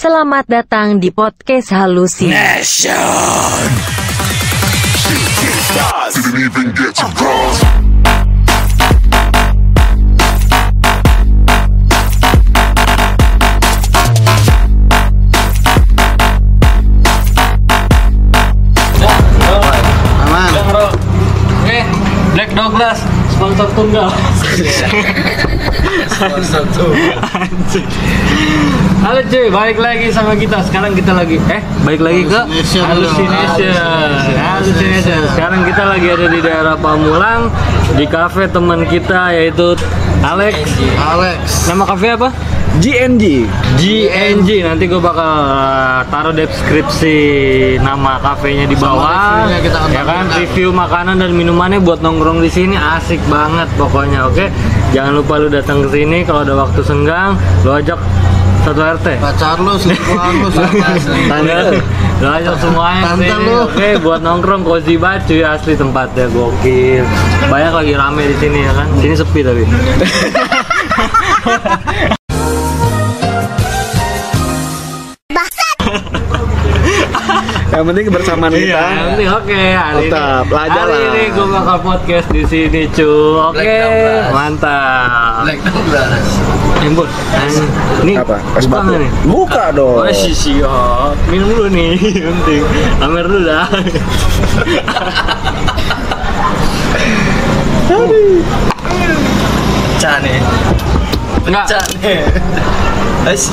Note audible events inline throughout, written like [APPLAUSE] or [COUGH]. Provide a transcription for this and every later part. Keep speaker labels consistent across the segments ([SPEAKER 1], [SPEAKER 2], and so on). [SPEAKER 1] Selamat datang di podcast halusi.
[SPEAKER 2] Didn't even get to cross.
[SPEAKER 3] Aman.
[SPEAKER 4] Eh, Black Douglas sponsor tunggal. Halo cuy, balik lagi sama kita. Sekarang kita lagi eh balik lagi ke
[SPEAKER 3] Hallucination.
[SPEAKER 4] Hallucination. Hallucination. Sekarang kita lagi ada di daerah Pamulang di kafe teman kita yaitu Alex.
[SPEAKER 3] Alex.
[SPEAKER 4] Nama kafe apa?
[SPEAKER 5] GNG
[SPEAKER 4] GNG. Nanti gue bakal taruh deskripsi nama kafenya di
[SPEAKER 3] Sama
[SPEAKER 4] bawah.
[SPEAKER 3] reviewnya kita akan
[SPEAKER 4] Ya kan
[SPEAKER 3] tampilkan.
[SPEAKER 4] review makanan dan minumannya buat nongkrong di sini asik banget pokoknya. Oke. Jangan lupa lu datang ke sini kalau ada waktu senggang, lu ajak satu RT.
[SPEAKER 3] Pacar lu, selingkuhan lu, siapa sih?
[SPEAKER 5] Tante.
[SPEAKER 4] Lu ajak semuanya ke
[SPEAKER 3] Tante
[SPEAKER 4] sini.
[SPEAKER 3] Iya. lu.
[SPEAKER 4] Oke, buat nongkrong cozy banget cuy asli tempatnya gokil. Banyak lagi rame di sini ya kan. Sini sepi tapi.
[SPEAKER 5] Yang penting kebersamaan kita
[SPEAKER 4] Nanti Ya. oke hari ini.
[SPEAKER 5] Mantap, pelajaran.
[SPEAKER 4] Hari ini gue bakal podcast di sini cu. Oke,
[SPEAKER 3] Black Douglas.
[SPEAKER 4] mantap.
[SPEAKER 3] Black Douglas.
[SPEAKER 4] Jemput. Ini
[SPEAKER 5] Apa? Es
[SPEAKER 4] buka
[SPEAKER 5] batu
[SPEAKER 4] nggak nih?
[SPEAKER 5] Buka dong
[SPEAKER 4] Oh, si siap. Minum dulu nih, [LAUGHS] penting. Amer dulu dah.
[SPEAKER 6] pecah nih
[SPEAKER 4] Enggak,
[SPEAKER 6] pecah nih Guys,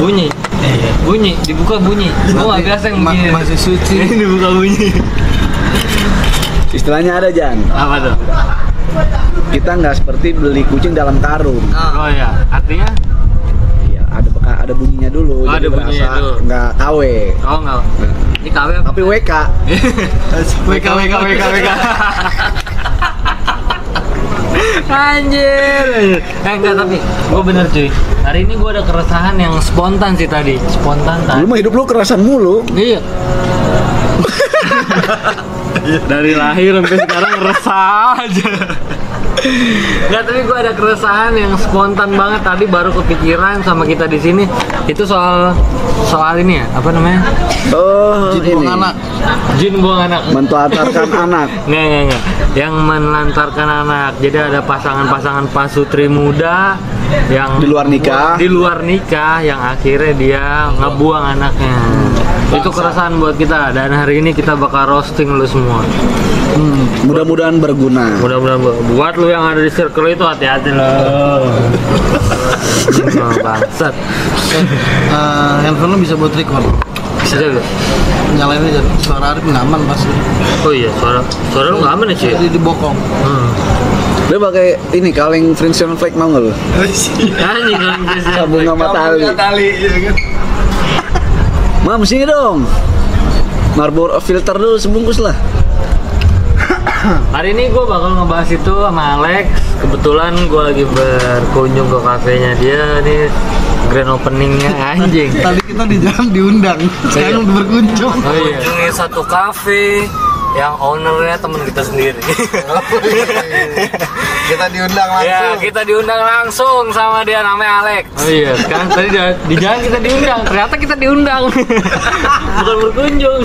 [SPEAKER 4] bunyi. Eh, Bunyi, dibuka bunyi. Gua nggak biasa yang
[SPEAKER 3] Ma-
[SPEAKER 4] begini.
[SPEAKER 3] masih suci.
[SPEAKER 4] Ini [LAUGHS] dibuka bunyi.
[SPEAKER 5] Istilahnya ada Jan
[SPEAKER 4] Apa tuh?
[SPEAKER 5] Kita nggak seperti beli kucing dalam karung
[SPEAKER 4] Oh ya, artinya
[SPEAKER 5] Iya ada beka, ada bunyinya dulu
[SPEAKER 4] Oh,
[SPEAKER 5] jadi
[SPEAKER 4] ada bunyinya
[SPEAKER 5] berasa
[SPEAKER 4] dulu.
[SPEAKER 5] nggak KW
[SPEAKER 4] oh enggak. Ini KW apa?
[SPEAKER 5] Tapi
[SPEAKER 4] [LAUGHS]
[SPEAKER 5] WK
[SPEAKER 4] WK WK WK WK. Anjir. anjir. Eh enggak tapi gue bener cuy. Hari ini gue ada keresahan yang spontan sih tadi. Spontan
[SPEAKER 5] Lu
[SPEAKER 4] tadi.
[SPEAKER 5] mah hidup lu kerasan mulu
[SPEAKER 4] Iya. Dari lahir sampai sekarang resah aja. Nggak, tapi gue ada keresahan yang spontan banget tadi baru kepikiran sama kita di sini. Itu soal soal ini ya, apa namanya?
[SPEAKER 5] Oh
[SPEAKER 3] Buang
[SPEAKER 5] ini
[SPEAKER 3] anak.
[SPEAKER 4] Jin buang anak.
[SPEAKER 5] Mentuatarkan anak
[SPEAKER 4] Nggak, nggak, nggak. Yang menelantarkan anak. Jadi ada pasangan-pasangan pasutri muda yang
[SPEAKER 5] Di luar nikah.
[SPEAKER 4] Di luar nikah yang akhirnya dia ngebuang anaknya. Itu keresahan buat kita dan hari ini kita bakal roasting lu semua.
[SPEAKER 5] Mudah-mudahan berguna
[SPEAKER 4] Mudah-mudahan bu- buat lu yang ada di circle itu hati-hati
[SPEAKER 5] [LAUGHS]
[SPEAKER 4] lo. Bangsat.
[SPEAKER 3] Eh, handphone lu bisa buat record.
[SPEAKER 4] Bisa lu?
[SPEAKER 3] Nyalain aja. Suara Arif nggak aman pasti.
[SPEAKER 4] Oh iya, suara suara lu nggak aman ya, cuy.
[SPEAKER 3] Jadi dibokong.
[SPEAKER 4] Hmm.
[SPEAKER 5] Lu pakai ini kaleng friction flag mau nggak lu?
[SPEAKER 4] Anjing kan
[SPEAKER 5] Sabung sama tali
[SPEAKER 6] tali ya kan
[SPEAKER 5] Mam sini dong Marlboro filter dulu sebungkus lah
[SPEAKER 4] Hari ini gue bakal ngebahas itu sama Alex. Kebetulan gue lagi berkunjung ke kafenya dia nih grand [LAUGHS] openingnya anjing.
[SPEAKER 3] Tadi kita di jalan diundang. Sekarang udah berkunjung.
[SPEAKER 4] Oh iya. Ini satu kafe yang ownernya temen kita sendiri. Oh iya.
[SPEAKER 6] kita diundang
[SPEAKER 3] Iya,
[SPEAKER 4] ya kita diundang langsung sama dia namanya Alex. Oh iya. Sekarang tadi dia- di jalan kita diundang. Ternyata kita [LAUGHS] diundang. Bukan berkunjung.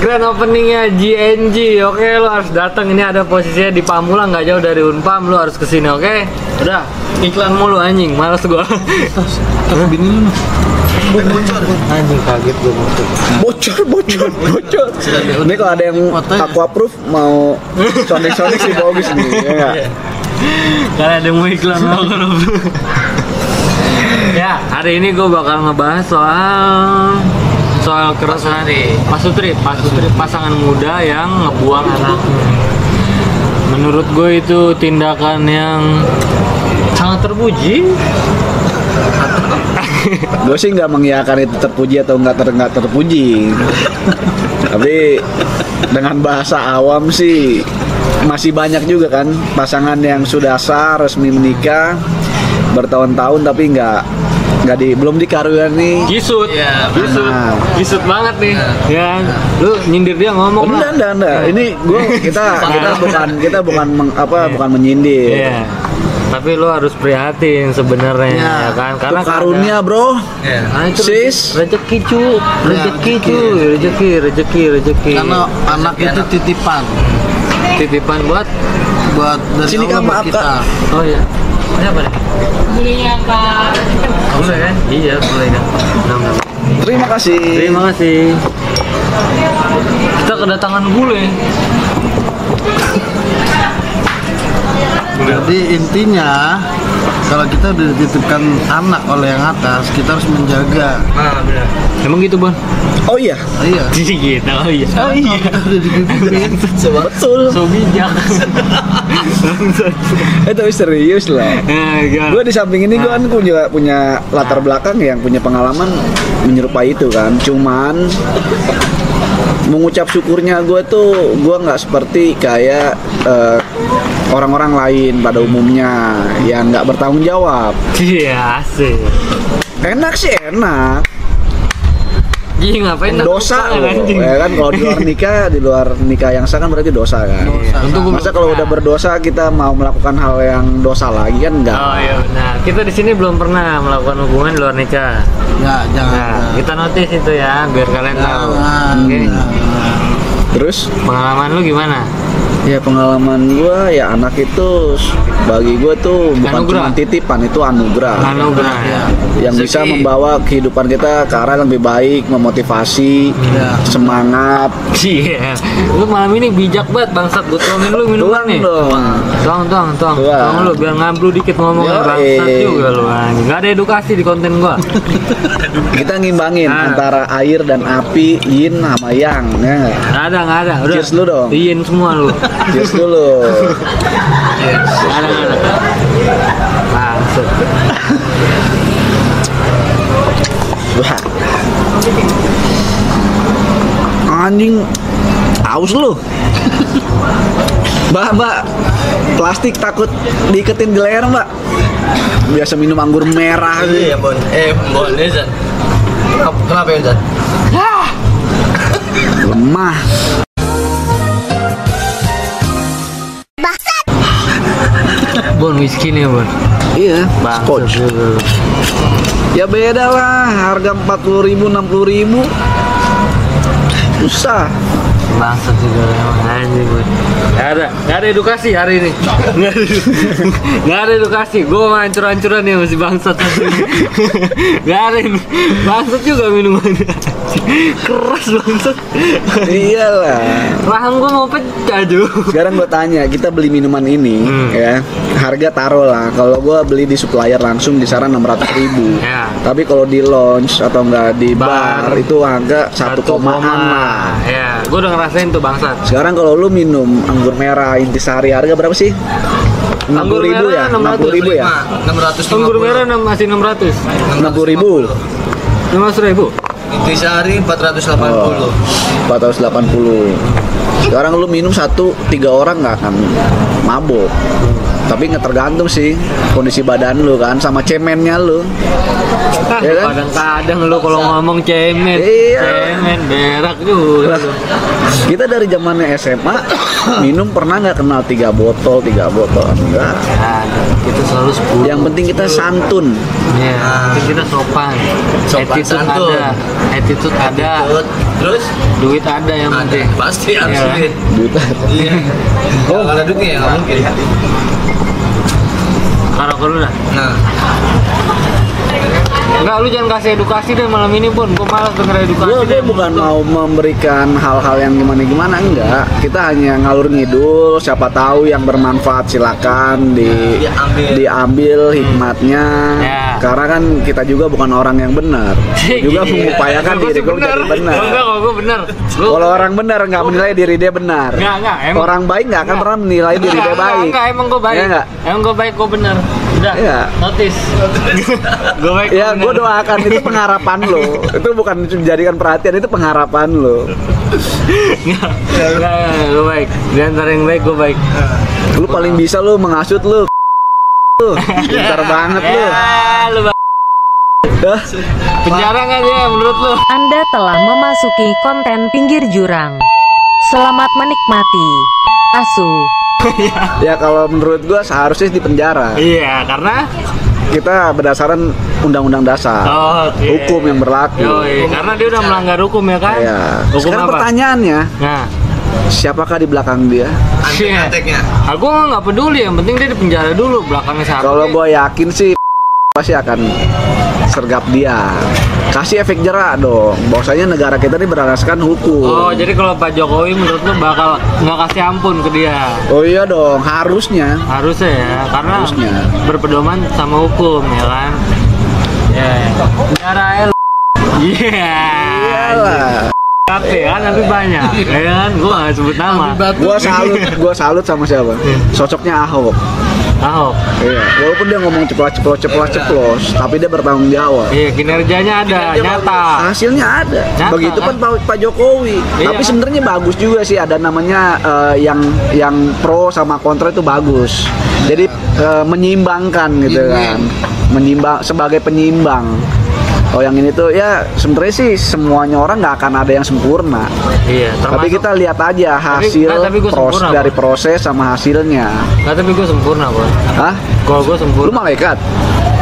[SPEAKER 4] Grand openingnya GNG, oke lo harus datang ini ada posisinya di Pamulang nggak jauh dari Unpam lo harus kesini oke? Udah iklan mulu anjing, males gua.
[SPEAKER 3] Terus bini lu. Nuh.
[SPEAKER 4] anjing kaget gua.
[SPEAKER 5] bocor bocor bocor ini kalau ada yang
[SPEAKER 3] Fotonya.
[SPEAKER 5] aku approve mau sonek sonek si bagus nih ya nggak?
[SPEAKER 4] Karena ada yang mau iklan mau grup. ya hari ini gua bakal ngebahas soal soal keresahan Pak Sutri, Pak Sutri pasangan muda yang ngebuang anak. Menurut gue itu tindakan yang sangat terpuji
[SPEAKER 5] gue sih nggak mengiyakan itu terpuji atau nggak ter nggak terpuji tapi dengan bahasa awam sih masih banyak juga kan pasangan yang sudah sah resmi menikah bertahun-tahun tapi nggak nggak di belum dikaruniai
[SPEAKER 4] Gisut.
[SPEAKER 6] Iya,
[SPEAKER 4] gisut.
[SPEAKER 5] benar.
[SPEAKER 4] Gisut banget nih. Ya. Lu nyindir dia ngomong
[SPEAKER 5] Enggak,
[SPEAKER 4] lah.
[SPEAKER 5] enggak, enggak. Ini gua kita kita bukan kita bukan meng- apa bukan menyindir.
[SPEAKER 4] Iya. tapi lo harus prihatin sebenarnya
[SPEAKER 3] Ya,
[SPEAKER 4] ya kan karena
[SPEAKER 5] Itu karunia bro
[SPEAKER 6] Iya.
[SPEAKER 4] Nah, itu
[SPEAKER 5] Sis.
[SPEAKER 4] rezeki cu, rezeki
[SPEAKER 3] rezeki.
[SPEAKER 4] cu, rezeki, rezeki, rezeki.
[SPEAKER 3] Karena anak
[SPEAKER 4] Iya,
[SPEAKER 3] itu titipan
[SPEAKER 4] titipan buat
[SPEAKER 3] buat dari
[SPEAKER 5] Sini,
[SPEAKER 3] Allah
[SPEAKER 5] Kak,
[SPEAKER 3] buat
[SPEAKER 5] maaf,
[SPEAKER 3] kita.
[SPEAKER 5] Kak.
[SPEAKER 4] oh ya. Kenapa nih? Boleh ya, Pak. Boleh kan? Iya, boleh kan. Nah,
[SPEAKER 5] Terima kasih
[SPEAKER 4] Terima kasih. Kita kedatangan bule.
[SPEAKER 3] Jadi intinya kalau kita udah dititipkan anak oleh yang atas, kita harus menjaga.
[SPEAKER 6] Nah, benar.
[SPEAKER 4] Emang gitu, Bon?
[SPEAKER 5] Oh iya
[SPEAKER 3] Iya.
[SPEAKER 4] Jadi [LAUGHS] gitu. Oh iya. Oh
[SPEAKER 3] Kalau
[SPEAKER 4] iya.
[SPEAKER 3] kita udah dititipin,
[SPEAKER 5] Betul
[SPEAKER 4] So bijak.
[SPEAKER 5] Itu serius lah
[SPEAKER 4] Nah, gimana?
[SPEAKER 5] Gue di samping ini gue kan punya, punya latar belakang yang punya pengalaman menyerupai itu kan Cuman mengucap syukurnya gue tuh gue nggak seperti kayak eh, orang-orang lain pada umumnya yang nggak bertanggung jawab
[SPEAKER 4] Iya, asik.
[SPEAKER 5] enak sih enak
[SPEAKER 4] Gih, ngapain aku
[SPEAKER 5] dosa
[SPEAKER 4] kangen,
[SPEAKER 5] loh ya kan kalau di luar nikah di luar nikah yang sah kan berarti dosa kan
[SPEAKER 3] Dosa.
[SPEAKER 4] Untung gua
[SPEAKER 5] masa
[SPEAKER 4] belum
[SPEAKER 5] kalau
[SPEAKER 4] pernah.
[SPEAKER 5] udah berdosa kita mau melakukan hal yang dosa lagi kan enggak
[SPEAKER 4] Oh iya benar. Kita di sini belum pernah melakukan hubungan di luar nikah.
[SPEAKER 3] ya
[SPEAKER 5] Ah.
[SPEAKER 3] jangan.
[SPEAKER 4] Nah, kita notice itu ya biar kalian tahu.
[SPEAKER 3] Jangan. Iya.
[SPEAKER 4] Oke.
[SPEAKER 5] iya.
[SPEAKER 3] Jangan.
[SPEAKER 5] terus
[SPEAKER 4] Pengalaman lu gimana?
[SPEAKER 5] ya pengalaman gua ya anak itu bagi gua tuh bukan
[SPEAKER 4] Anugerah.
[SPEAKER 5] cuma titipan itu anugerah
[SPEAKER 4] Anugerah ya.
[SPEAKER 5] Iya.
[SPEAKER 3] Ya.
[SPEAKER 5] yang
[SPEAKER 6] Rezeki.
[SPEAKER 5] bisa membawa kehidupan kita ke arah yang lebih baik memotivasi
[SPEAKER 3] Ya.
[SPEAKER 5] semangat
[SPEAKER 4] [LAUGHS] Iya. Lu malam ini bijak banget bangsat gua tuangin lu
[SPEAKER 5] Tuang
[SPEAKER 4] minuman nih.
[SPEAKER 5] dong.
[SPEAKER 4] Tuang, tuang, tuang.
[SPEAKER 5] Tuang.
[SPEAKER 4] Tuang lu biar ngablu dikit ngomongnya
[SPEAKER 5] Yoi.
[SPEAKER 4] bangsat juga lu anjing. Gak ada edukasi di konten gua.
[SPEAKER 5] kita ngimbangin
[SPEAKER 4] Nah.
[SPEAKER 5] antara air dan api yin sama yang ya nggak?
[SPEAKER 4] Gak ada, gak ada. Udah.
[SPEAKER 5] Cheers lu dong.
[SPEAKER 4] Iin semua lu.
[SPEAKER 5] Cheers dulu.
[SPEAKER 4] Gak ada, gak ada. Bangsat.
[SPEAKER 5] Wah. Anjing aus lu. Mbak, mbak, plastik takut diiketin di leher, mbak. Biasa minum anggur merah gitu.
[SPEAKER 6] Iya, Bon. Eh, Bon, ini Zat. Kep- Kenapa ya, Zat?
[SPEAKER 5] Lemah.
[SPEAKER 4] Bon whisky nih, Bon.
[SPEAKER 5] Iya,
[SPEAKER 4] Bangsat.
[SPEAKER 5] scotch.
[SPEAKER 4] lu.
[SPEAKER 5] Ya beda lah, harga 40 ribu, 60 ribu. Susah.
[SPEAKER 4] Bangsat juga emang anjing gue. Gak ada, gak ada edukasi hari ini. Gak ada, gak ada edukasi. Gue mah hancur-hancuran ya masih bangsat. gak ada ini. Bangsat juga minumannya. Keras bangsat.
[SPEAKER 5] Iya Iyalah.
[SPEAKER 4] Rahang gue mau pecah juga.
[SPEAKER 5] Sekarang gue tanya, kita beli minuman ini
[SPEAKER 4] Hmm.
[SPEAKER 5] ya, harga taruh lah. Kalau gue beli di supplier langsung di sana 600 ribu.
[SPEAKER 4] Ya.
[SPEAKER 5] Tapi kalau di lounge atau enggak di bar,
[SPEAKER 4] Bar.
[SPEAKER 5] itu harga satu komaan lah.
[SPEAKER 4] Ya, gue udah ngerasain tuh bangsat.
[SPEAKER 5] Sekarang kalau lu minum anggur merah intisari harga berapa sih? 60
[SPEAKER 4] Anggur
[SPEAKER 5] ribu ya?
[SPEAKER 4] merah 600
[SPEAKER 5] 60 ribu ya?
[SPEAKER 6] 650.
[SPEAKER 4] Anggur Kan merah enam- masih 600
[SPEAKER 5] 60 ribu?
[SPEAKER 4] 600 ribu
[SPEAKER 6] Inti sehari
[SPEAKER 5] Oh.
[SPEAKER 6] 480.
[SPEAKER 5] 480 Sekarang lu minum satu, tiga orang nggak akan mabuk tapi nggak tergantung sih kondisi badan lu kan sama cemennya lu Ya kan?
[SPEAKER 4] Kadang-kadang lu kalau ngomong cemen
[SPEAKER 5] Iya.
[SPEAKER 4] Cemen berak juga lu.
[SPEAKER 5] kita dari zamannya SMA [COUGHS] minum pernah nggak kenal tiga botol tiga botol enggak
[SPEAKER 4] Ya, Kita selalu 10
[SPEAKER 5] yang penting kita santun
[SPEAKER 4] Ya,
[SPEAKER 5] Ah.
[SPEAKER 4] tapi kita sopan.
[SPEAKER 6] Sopan
[SPEAKER 4] attitude
[SPEAKER 6] santun.
[SPEAKER 4] ada, attitude ada,
[SPEAKER 6] Terus- Ya. Terus
[SPEAKER 4] duit ada yang
[SPEAKER 6] ada
[SPEAKER 4] penting.
[SPEAKER 6] pasti harus
[SPEAKER 4] Iya.
[SPEAKER 6] duit.
[SPEAKER 5] Duta.
[SPEAKER 6] Iya. Kalau nggak ada duitnya ya nggak mungkin.
[SPEAKER 4] Karo karo dah.
[SPEAKER 6] Nah,
[SPEAKER 4] Enggak, lu jangan kasih edukasi deh malam ini, Bon. Gua gitu. malas denger edukasi.
[SPEAKER 5] gue
[SPEAKER 4] deh.
[SPEAKER 5] bukan mau memberikan hal-hal yang gimana-gimana enggak kita hanya ngalur ngidul siapa tahu yang bermanfaat silakan di
[SPEAKER 6] Diambil.
[SPEAKER 5] diambil hikmatnya
[SPEAKER 4] Hmm. Ya.
[SPEAKER 5] karena kan kita juga bukan orang yang benar
[SPEAKER 4] [LAUGHS]
[SPEAKER 5] Gua juga
[SPEAKER 4] Iya.
[SPEAKER 5] mengupayakan
[SPEAKER 4] Gua
[SPEAKER 5] diri
[SPEAKER 4] sih
[SPEAKER 5] gue jadi benar
[SPEAKER 4] Enggak, kalau gua benar. Lu
[SPEAKER 5] kalau orang benar nggak menilai diri dia benar
[SPEAKER 4] Enggak, enggak, emang.
[SPEAKER 5] orang baik nggak akan pernah menilai diri dia
[SPEAKER 4] Enggak,
[SPEAKER 5] baik
[SPEAKER 4] Enggak, emang gua baik.
[SPEAKER 5] Iya enggak?
[SPEAKER 4] Emang gua baik, gua benar. Udah.
[SPEAKER 5] Iya. [LAUGHS]
[SPEAKER 4] Notice. gua baik.
[SPEAKER 5] Ya,
[SPEAKER 4] gua
[SPEAKER 5] gue
[SPEAKER 4] benar.
[SPEAKER 5] doakan itu pengharapan
[SPEAKER 4] [LAUGHS]
[SPEAKER 5] lo. Itu bukan menjadikan perhatian, itu pengharapan lo.
[SPEAKER 4] Enggak, enggak, enggak, gua baik. Di antara yang baik, gua baik.
[SPEAKER 5] Lu paling bisa lu mengasut lu. Lu pintar banget lu.
[SPEAKER 4] Ya, Iya. lu ba-
[SPEAKER 5] Dah.
[SPEAKER 4] Penjara nggak dia menurut lu?
[SPEAKER 1] Anda telah memasuki konten pinggir jurang. Selamat menikmati. Asu,
[SPEAKER 5] ya kalau menurut gua seharusnya di penjara
[SPEAKER 4] Iya, karena
[SPEAKER 5] kita berdasarkan undang-undang dasar
[SPEAKER 4] oh, Oke.
[SPEAKER 5] hukum yang berlaku
[SPEAKER 4] Yoi, karena dia udah melanggar hukum ya kan?
[SPEAKER 5] ya
[SPEAKER 4] iya. Hukum
[SPEAKER 5] sekarang
[SPEAKER 4] apa?
[SPEAKER 5] pertanyaannya
[SPEAKER 4] Nah,
[SPEAKER 5] siapakah di belakang dia
[SPEAKER 4] shit.
[SPEAKER 6] antek-anteknya.
[SPEAKER 4] Aku nggak peduli, yang penting dia di penjara dulu belakangnya satu.
[SPEAKER 5] kalau gue yakin sih pasti akan sergap dia kasih efek jerak dong bahwasanya negara kita ini berlandaskan hukum
[SPEAKER 4] Oh, jadi kalau Pak Jokowi menurut lu bakal nggak kasih ampun ke dia?
[SPEAKER 5] Oh iya dong harusnya
[SPEAKER 4] Harusnya ya, karena
[SPEAKER 5] Harusnya.
[SPEAKER 4] berpedoman sama hukum ya kan? Ya, ya. penjara ya, lu. Iya.
[SPEAKER 5] Iyalah.
[SPEAKER 4] Tapi ya kan, tapi banyak. Ya kan, gua nggak sebut nama.
[SPEAKER 5] Gua salut, gua salut sama
[SPEAKER 4] [LAUGHS]
[SPEAKER 5] siapa? Sosoknya Ahok.
[SPEAKER 4] Ahok.
[SPEAKER 5] Iya. Walaupun dia ngomong ceplos ceplos ceplos ceplos, tapi dia bertanggung jawab.
[SPEAKER 4] Iya, kinerjanya ada, nyata.
[SPEAKER 5] Hasilnya ada.
[SPEAKER 4] Nyata,
[SPEAKER 5] Begitu
[SPEAKER 4] kan?
[SPEAKER 5] kan Pak, Pak Jokowi.
[SPEAKER 4] Iya.
[SPEAKER 5] Tapi sebenarnya bagus juga sih ada namanya eh, yang yang pro sama kontra itu bagus. Jadi eh, menyimbangkan gitu kan.
[SPEAKER 4] Iya.
[SPEAKER 5] Menyimbang sebagai penyimbang. Oh yang ini tuh ya sebenarnya sih semuanya orang nggak akan ada yang sempurna.
[SPEAKER 4] Iya,
[SPEAKER 5] ah. Tapi
[SPEAKER 4] termasuk
[SPEAKER 5] kita lihat aja hasil
[SPEAKER 4] nggak, tapi gua
[SPEAKER 5] pros-
[SPEAKER 4] sempurna,
[SPEAKER 5] dari
[SPEAKER 4] Bro.
[SPEAKER 5] proses sama hasilnya.
[SPEAKER 4] Nah, tapi gue sempurna, Bro.
[SPEAKER 5] Hah?
[SPEAKER 4] Kalau
[SPEAKER 5] Lu
[SPEAKER 4] gue sempurna.
[SPEAKER 5] malaikat?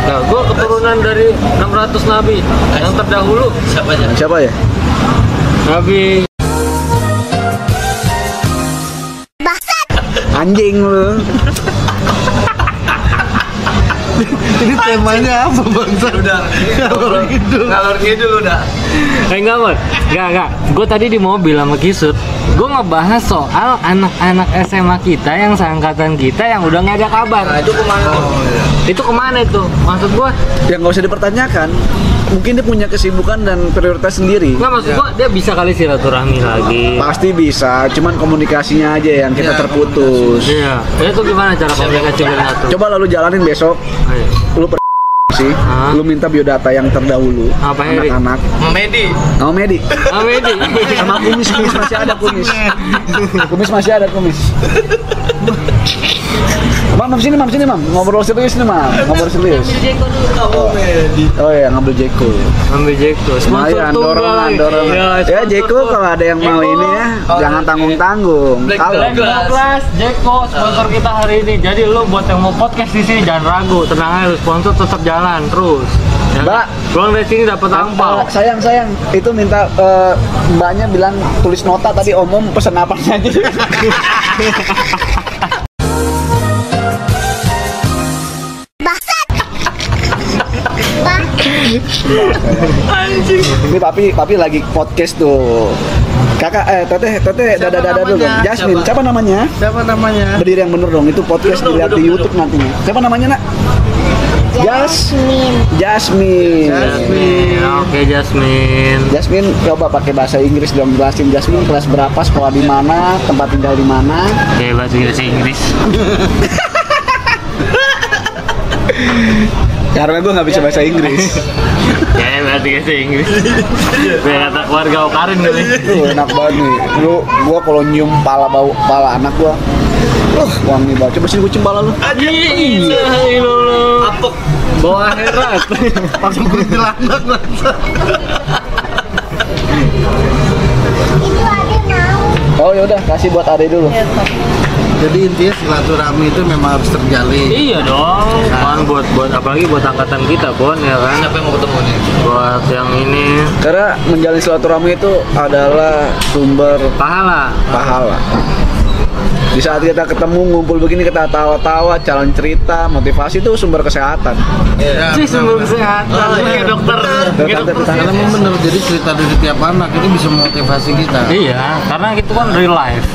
[SPEAKER 4] Nah, gue keturunan dari 600 nabi yang terdahulu.
[SPEAKER 6] Siapa aja?
[SPEAKER 5] Siapa ya?
[SPEAKER 4] Nabi
[SPEAKER 5] Anjing lu.
[SPEAKER 3] Ini temanya apa bangsa? Udah.
[SPEAKER 6] Ngalor ngidul udah.
[SPEAKER 4] Eh enggak Mot, enggak enggak Gue tadi di mobil sama Kisut Gue ngebahas soal anak-anak SMA kita yang seangkatan kita yang udah nggak ada kabar Oh, iya.
[SPEAKER 6] Nah, itu kemana?
[SPEAKER 4] Itu kemana itu? Maksud gue,
[SPEAKER 5] Yang Ya, nggak usah dipertanyakan. Mungkin dia punya kesibukan dan prioritas sendiri.
[SPEAKER 4] enggak maksud gue dia bisa kali silaturahmi lagi
[SPEAKER 5] Pasti bisa, cuman komunikasinya aja yang kita
[SPEAKER 3] Ya,
[SPEAKER 5] terputus.
[SPEAKER 4] Iya, itu gimana cara komunikasi dengan Iya. satu?
[SPEAKER 5] Coba lalu jalanin besok,
[SPEAKER 4] Ayo.
[SPEAKER 5] lu per sih,
[SPEAKER 4] Hah?
[SPEAKER 5] lu minta biodata yang terdahulu,
[SPEAKER 4] Apa, Eri?
[SPEAKER 5] anak-anak,
[SPEAKER 6] Memedi.
[SPEAKER 5] sama Medi,
[SPEAKER 4] Ah, Medi.
[SPEAKER 5] sama kumis, kumis masih ada kumis, kumis masih ada kumis. Mam, mam sini, mam sini, mam. Ngobrol serius nih, mam. Ngobrol serius. Oh iya, ngambil Jeko.
[SPEAKER 4] Ambil Jeko Sponsor
[SPEAKER 5] Lumayan,
[SPEAKER 4] tunggal
[SPEAKER 5] dorongan,
[SPEAKER 4] lagi.
[SPEAKER 5] dorongan.
[SPEAKER 4] Iya,
[SPEAKER 5] Ya,
[SPEAKER 4] sponsor
[SPEAKER 5] Jeko
[SPEAKER 4] tunggal.
[SPEAKER 5] kalau ada yang mau
[SPEAKER 4] Jeko.
[SPEAKER 5] ini ya,
[SPEAKER 6] Kalau
[SPEAKER 5] jangan
[SPEAKER 6] ada-
[SPEAKER 5] tanggung-tanggung.
[SPEAKER 6] Black
[SPEAKER 5] Kalau
[SPEAKER 6] Black.
[SPEAKER 4] 12 Jeko sponsor kita hari ini. Jadi lo buat yang mau podcast di sini jangan ragu, tenang aja lo sponsor tetap jalan terus. Ya
[SPEAKER 5] Mbak.
[SPEAKER 4] kan? pulang dari sini dapat angpau.
[SPEAKER 5] Mbak, sayang sayang itu minta eh, mbaknya bilang tulis nota tadi omom pesen apa aja ini papi papi lagi podcast tuh kakak eh teteh teteh
[SPEAKER 3] Siapa
[SPEAKER 5] dada dada dulu
[SPEAKER 3] namanya?
[SPEAKER 5] Jasmine
[SPEAKER 3] Siapa?
[SPEAKER 5] siapa namanya
[SPEAKER 3] Siapa namanya?
[SPEAKER 5] berdiri yang bener dong itu podcast
[SPEAKER 6] Duduk dong,
[SPEAKER 5] dilihat di
[SPEAKER 6] duduk,
[SPEAKER 5] YouTube nantinya siapa namanya nak Jasmine Jasmine
[SPEAKER 4] Jasmine. Oke Jasmine.
[SPEAKER 5] Jasmine coba pakai bahasa Inggris dong jelasin Jasmine kelas berapa sekolah di mana tempat tinggal di mana
[SPEAKER 4] Oke bahasa Inggris Inggris.
[SPEAKER 5] Ya, karena gue nggak bisa bahasa Inggris [LAUGHS]
[SPEAKER 4] Ya bahasa Inggris Inggris. Biar kata keluarga Okarin kali.
[SPEAKER 5] Tuh, enak banget nih lu gue kalau nyium pala bau pala anak gue uh wangi banget coba sini gue cium pala lu
[SPEAKER 4] Aji, ilah
[SPEAKER 6] Apok.
[SPEAKER 4] Bawa akhirat.
[SPEAKER 3] Langsung kuntilanak bangsa.
[SPEAKER 5] oh yaudah kasih buat ade dulu
[SPEAKER 3] Jadi intinya silaturahmi itu memang harus terjalin.
[SPEAKER 4] Iya dong. Kan buat buat apalagi buat angkatan kita Bon ya kan.
[SPEAKER 6] Siapa yang mau ketemu nih?
[SPEAKER 4] Buat yang ini
[SPEAKER 5] karena menjalin silaturahmi itu adalah sumber
[SPEAKER 4] pahala.
[SPEAKER 5] pahala di saat kita ketemu ngumpul begini kita tawa-tawa jalan cerita motivasi itu sumber kesehatan
[SPEAKER 6] Iya.
[SPEAKER 3] Ya,
[SPEAKER 4] sih sumber
[SPEAKER 3] benar-benar.
[SPEAKER 4] kesehatan
[SPEAKER 3] Oh,
[SPEAKER 4] Lu
[SPEAKER 3] iya.
[SPEAKER 4] kayak dokter kayak
[SPEAKER 5] Dokter,
[SPEAKER 4] dokter
[SPEAKER 5] dokter.
[SPEAKER 4] sih.
[SPEAKER 3] Karena memang benar, jadi cerita dari tiap anak itu bisa memotivasi kita.
[SPEAKER 4] iya karena itu kan real life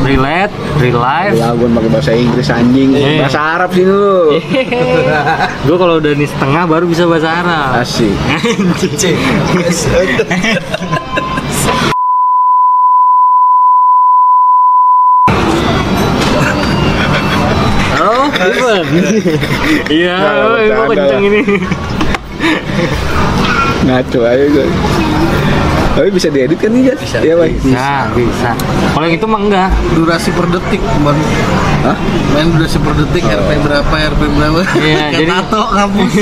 [SPEAKER 4] relate real life
[SPEAKER 5] Lah gue pakai bahasa Inggris anjing,
[SPEAKER 4] Iya.
[SPEAKER 5] bahasa Arab sih lu.
[SPEAKER 4] Eh. gue kalau udah di setengah baru bisa bahasa Arab
[SPEAKER 5] Asik.
[SPEAKER 4] oh Ivan iya
[SPEAKER 5] Nah,
[SPEAKER 4] woi, gua
[SPEAKER 5] bercanda
[SPEAKER 4] kenceng
[SPEAKER 5] lah.
[SPEAKER 4] ini
[SPEAKER 5] Ngaco aja gue. Tapi bisa diedit kan nih, Jas? Iya, Bay.
[SPEAKER 4] nah bisa kalau yang itu mah enggak
[SPEAKER 3] Durasi per detik, Bang.
[SPEAKER 5] Hah?
[SPEAKER 3] Main durasi per detik,
[SPEAKER 6] Oh.
[SPEAKER 3] RP berapa, RP berapa.
[SPEAKER 4] Iya,
[SPEAKER 3] Kayak
[SPEAKER 4] jadi-
[SPEAKER 3] [LAUGHS] tato
[SPEAKER 6] [LAUGHS]
[SPEAKER 3] kampus.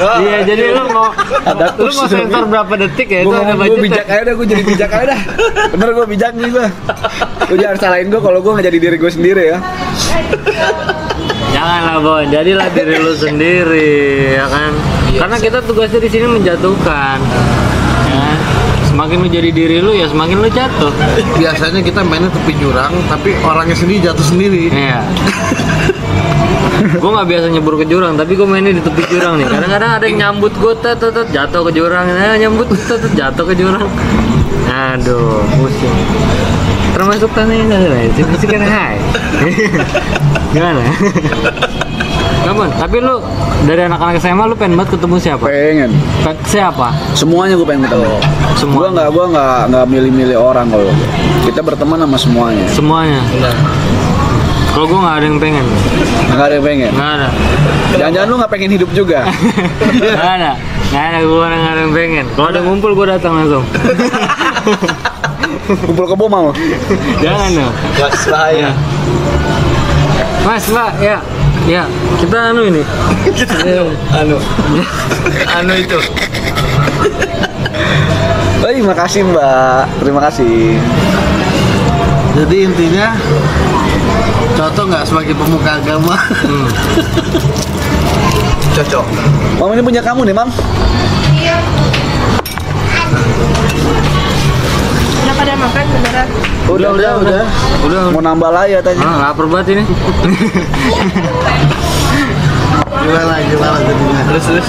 [SPEAKER 4] Iya, jadi lu mau
[SPEAKER 5] Ada
[SPEAKER 4] lu mau
[SPEAKER 5] kursi.
[SPEAKER 4] sensor berapa detik ya itu
[SPEAKER 5] Gua
[SPEAKER 4] ada
[SPEAKER 5] ngomong, gua
[SPEAKER 4] budget.
[SPEAKER 5] bijak aja dah, gue jadi bijak aja dah Bener gue bijak nih gue Lu jangan salahin gue kalau gue gak jadi diri gue sendiri ya
[SPEAKER 4] Janganlah Bon, jadilah diri lu sendiri ya kan. Karena kita tugasnya di sini menjatuhkan. Ya. Semakin lu jadi diri lu ya semakin lu jatuh.
[SPEAKER 3] Biasanya kita mainnya tepi jurang, tapi orangnya sendiri jatuh sendiri.
[SPEAKER 4] Iya. gue nggak biasa nyebur ke jurang, tapi gue mainnya di tepi jurang nih. Kadang-kadang ada yang nyambut gue, tet, tet, tet, jatuh ke jurang, nah, nyambut, tet, tet, jatuh ke jurang. Aduh, pusing. Termasuk tanah ini lah, itu pasti kan hai. Gimana? Gampang, tapi lu dari anak-anak SMA lu pengen banget ketemu siapa?
[SPEAKER 5] Pengen
[SPEAKER 4] Pe- siapa?
[SPEAKER 5] Semuanya gue pengen ketemu
[SPEAKER 4] Oh, Semuanya.
[SPEAKER 5] Gue gak, gua gak, gak milih-milih orang kalau gua. Kita berteman sama semuanya
[SPEAKER 4] Semuanya.
[SPEAKER 3] Nah,
[SPEAKER 4] Kalau gue nggak ada yang pengen,
[SPEAKER 5] Gak ada yang pengen
[SPEAKER 4] nggak ada.
[SPEAKER 5] Jangan-jangan lu gak pengen hidup
[SPEAKER 6] [LAUGHS]
[SPEAKER 5] juga
[SPEAKER 4] Gak ada, gak ada gue orang ada yang pengen. Kalau ada ngumpul gue datang
[SPEAKER 6] [LAUGHS]
[SPEAKER 4] langsung.
[SPEAKER 5] Kumpul kebo mau
[SPEAKER 4] Jangan dong.
[SPEAKER 6] Gak bahaya.
[SPEAKER 4] Mas, Pak, ya. Ya, kita anu ini. [LAUGHS] Ya.
[SPEAKER 6] Anu. Anu itu.
[SPEAKER 5] Woi makasih mbak Terima kasih
[SPEAKER 3] jadi intinya cocok nggak sebagai pemuka agama? [LAUGHS]
[SPEAKER 6] Cocok.
[SPEAKER 5] Mam ini punya kamu nih mam
[SPEAKER 2] Iya. Udah pada makan beneran?
[SPEAKER 5] Udah udah udah,
[SPEAKER 4] Udah.
[SPEAKER 5] Mau nambah lah ya tadi
[SPEAKER 4] Ah, lapar banget ini.
[SPEAKER 3] gimana gimana jadinya?
[SPEAKER 6] Terus terus.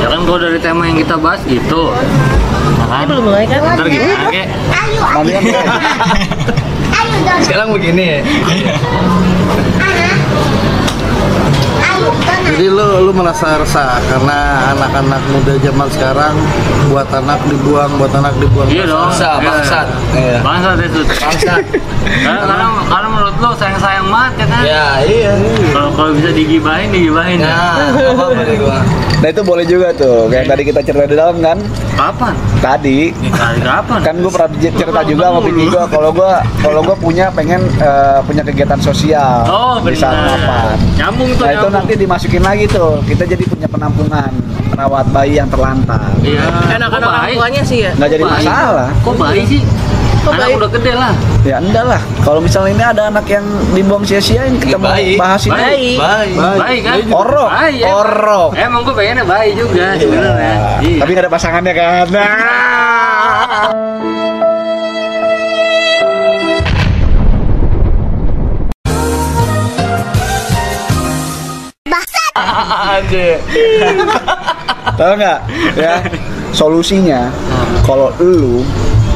[SPEAKER 4] ya kan kalau dari tema yang kita bahas gitu. Ya kan?
[SPEAKER 2] Belum mulai kan?
[SPEAKER 4] Ntar kita pakai.
[SPEAKER 5] Nanti kan
[SPEAKER 6] Sekarang begini ya.
[SPEAKER 3] Jadi lu lu merasa resah karena anak-anak muda zaman sekarang buat anak dibuang, buat anak dibuang.
[SPEAKER 4] Iya dong.
[SPEAKER 6] Bangsa,
[SPEAKER 4] Iya.
[SPEAKER 6] bangsat.
[SPEAKER 5] Iya.
[SPEAKER 4] Bangsat itu.
[SPEAKER 6] Bangsat.
[SPEAKER 4] Karena, karena, karena menurut lo sayang-sayang banget ya kan?
[SPEAKER 6] [LAUGHS] Ya iya.
[SPEAKER 4] Kalau kalau bisa digibahin, digibahin
[SPEAKER 6] Nah,
[SPEAKER 4] ya.
[SPEAKER 6] nggak apa-apa deh gua.
[SPEAKER 5] Nah itu boleh juga tuh Kayak tadi kita cerita di dalam kan
[SPEAKER 4] Kapan?
[SPEAKER 5] Tadi
[SPEAKER 4] Ya, kali kapan?
[SPEAKER 5] kan gue pernah j- cerita juga sama Vicky gue kalau gue kalau gue punya pengen eh, punya kegiatan sosial
[SPEAKER 4] Oh,
[SPEAKER 5] di saat
[SPEAKER 4] benar.
[SPEAKER 5] mapan.
[SPEAKER 4] Nyambung tuh.
[SPEAKER 5] Nah itu
[SPEAKER 4] nyambung.
[SPEAKER 5] nanti dimasukin lagi tuh kita jadi punya penampungan perawat bayi yang terlantar
[SPEAKER 4] Iya.
[SPEAKER 2] Enakan
[SPEAKER 4] Kok
[SPEAKER 2] orang
[SPEAKER 4] baik?
[SPEAKER 2] tuanya sih ya?
[SPEAKER 5] nggak jadi
[SPEAKER 4] Kok baik?
[SPEAKER 5] masalah
[SPEAKER 4] Kok baik sih?
[SPEAKER 2] Kok
[SPEAKER 4] Anak
[SPEAKER 2] baik?
[SPEAKER 4] udah gede lah.
[SPEAKER 5] ya enggak lah kalau misalnya ini ada anak yang dibuang sia-sia yang kita mau
[SPEAKER 6] Bayi.
[SPEAKER 5] bahas ini
[SPEAKER 4] Bayi.
[SPEAKER 6] Bye.
[SPEAKER 4] Baik kan?
[SPEAKER 5] Orok.
[SPEAKER 4] Baik, emang.
[SPEAKER 5] Orok. Iya.
[SPEAKER 4] Emang gue pengennya baik juga sebenarnya. Iya.
[SPEAKER 5] tapi nggak ada pasangannya kan Nah.
[SPEAKER 4] Ah,
[SPEAKER 5] Iya. Tahu nggak? Ya. Solusinya kalau lu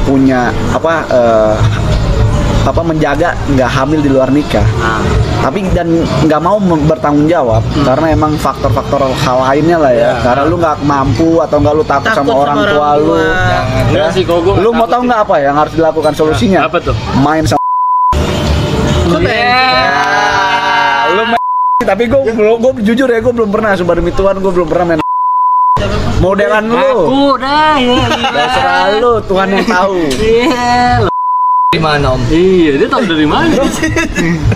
[SPEAKER 5] punya apa eh, apa menjaga nggak hamil di luar nikah.
[SPEAKER 4] Nah,
[SPEAKER 5] Tapi dan nggak mau mem- bertanggung jawab karena emang faktor-faktor hal lainnya lah Hmm. ya. Karena lu nggak mampu atau nggak lu takut,
[SPEAKER 2] Takut
[SPEAKER 5] sama orang tua lu. Ya.
[SPEAKER 4] Enggak Nah, sih, kalau gua nggak
[SPEAKER 5] Lu mau
[SPEAKER 4] takut
[SPEAKER 5] tahu nggak apa yang harus dilakukan solusinya?
[SPEAKER 4] Apa tuh?
[SPEAKER 5] Main sama [LAUGHS] lu main tapi gue belum gue jujur ya gue belum pernah sumpah demi Tuhan gue belum pernah main [LAUGHS] modelan lu
[SPEAKER 4] Aku dah ya.
[SPEAKER 5] terserah lu Tuhan
[SPEAKER 4] [LAUGHS]
[SPEAKER 5] yang tahu
[SPEAKER 4] Iya. lo.
[SPEAKER 6] Di mana om?
[SPEAKER 4] Iya, dia tahu dari mana?
[SPEAKER 5] [LAUGHS]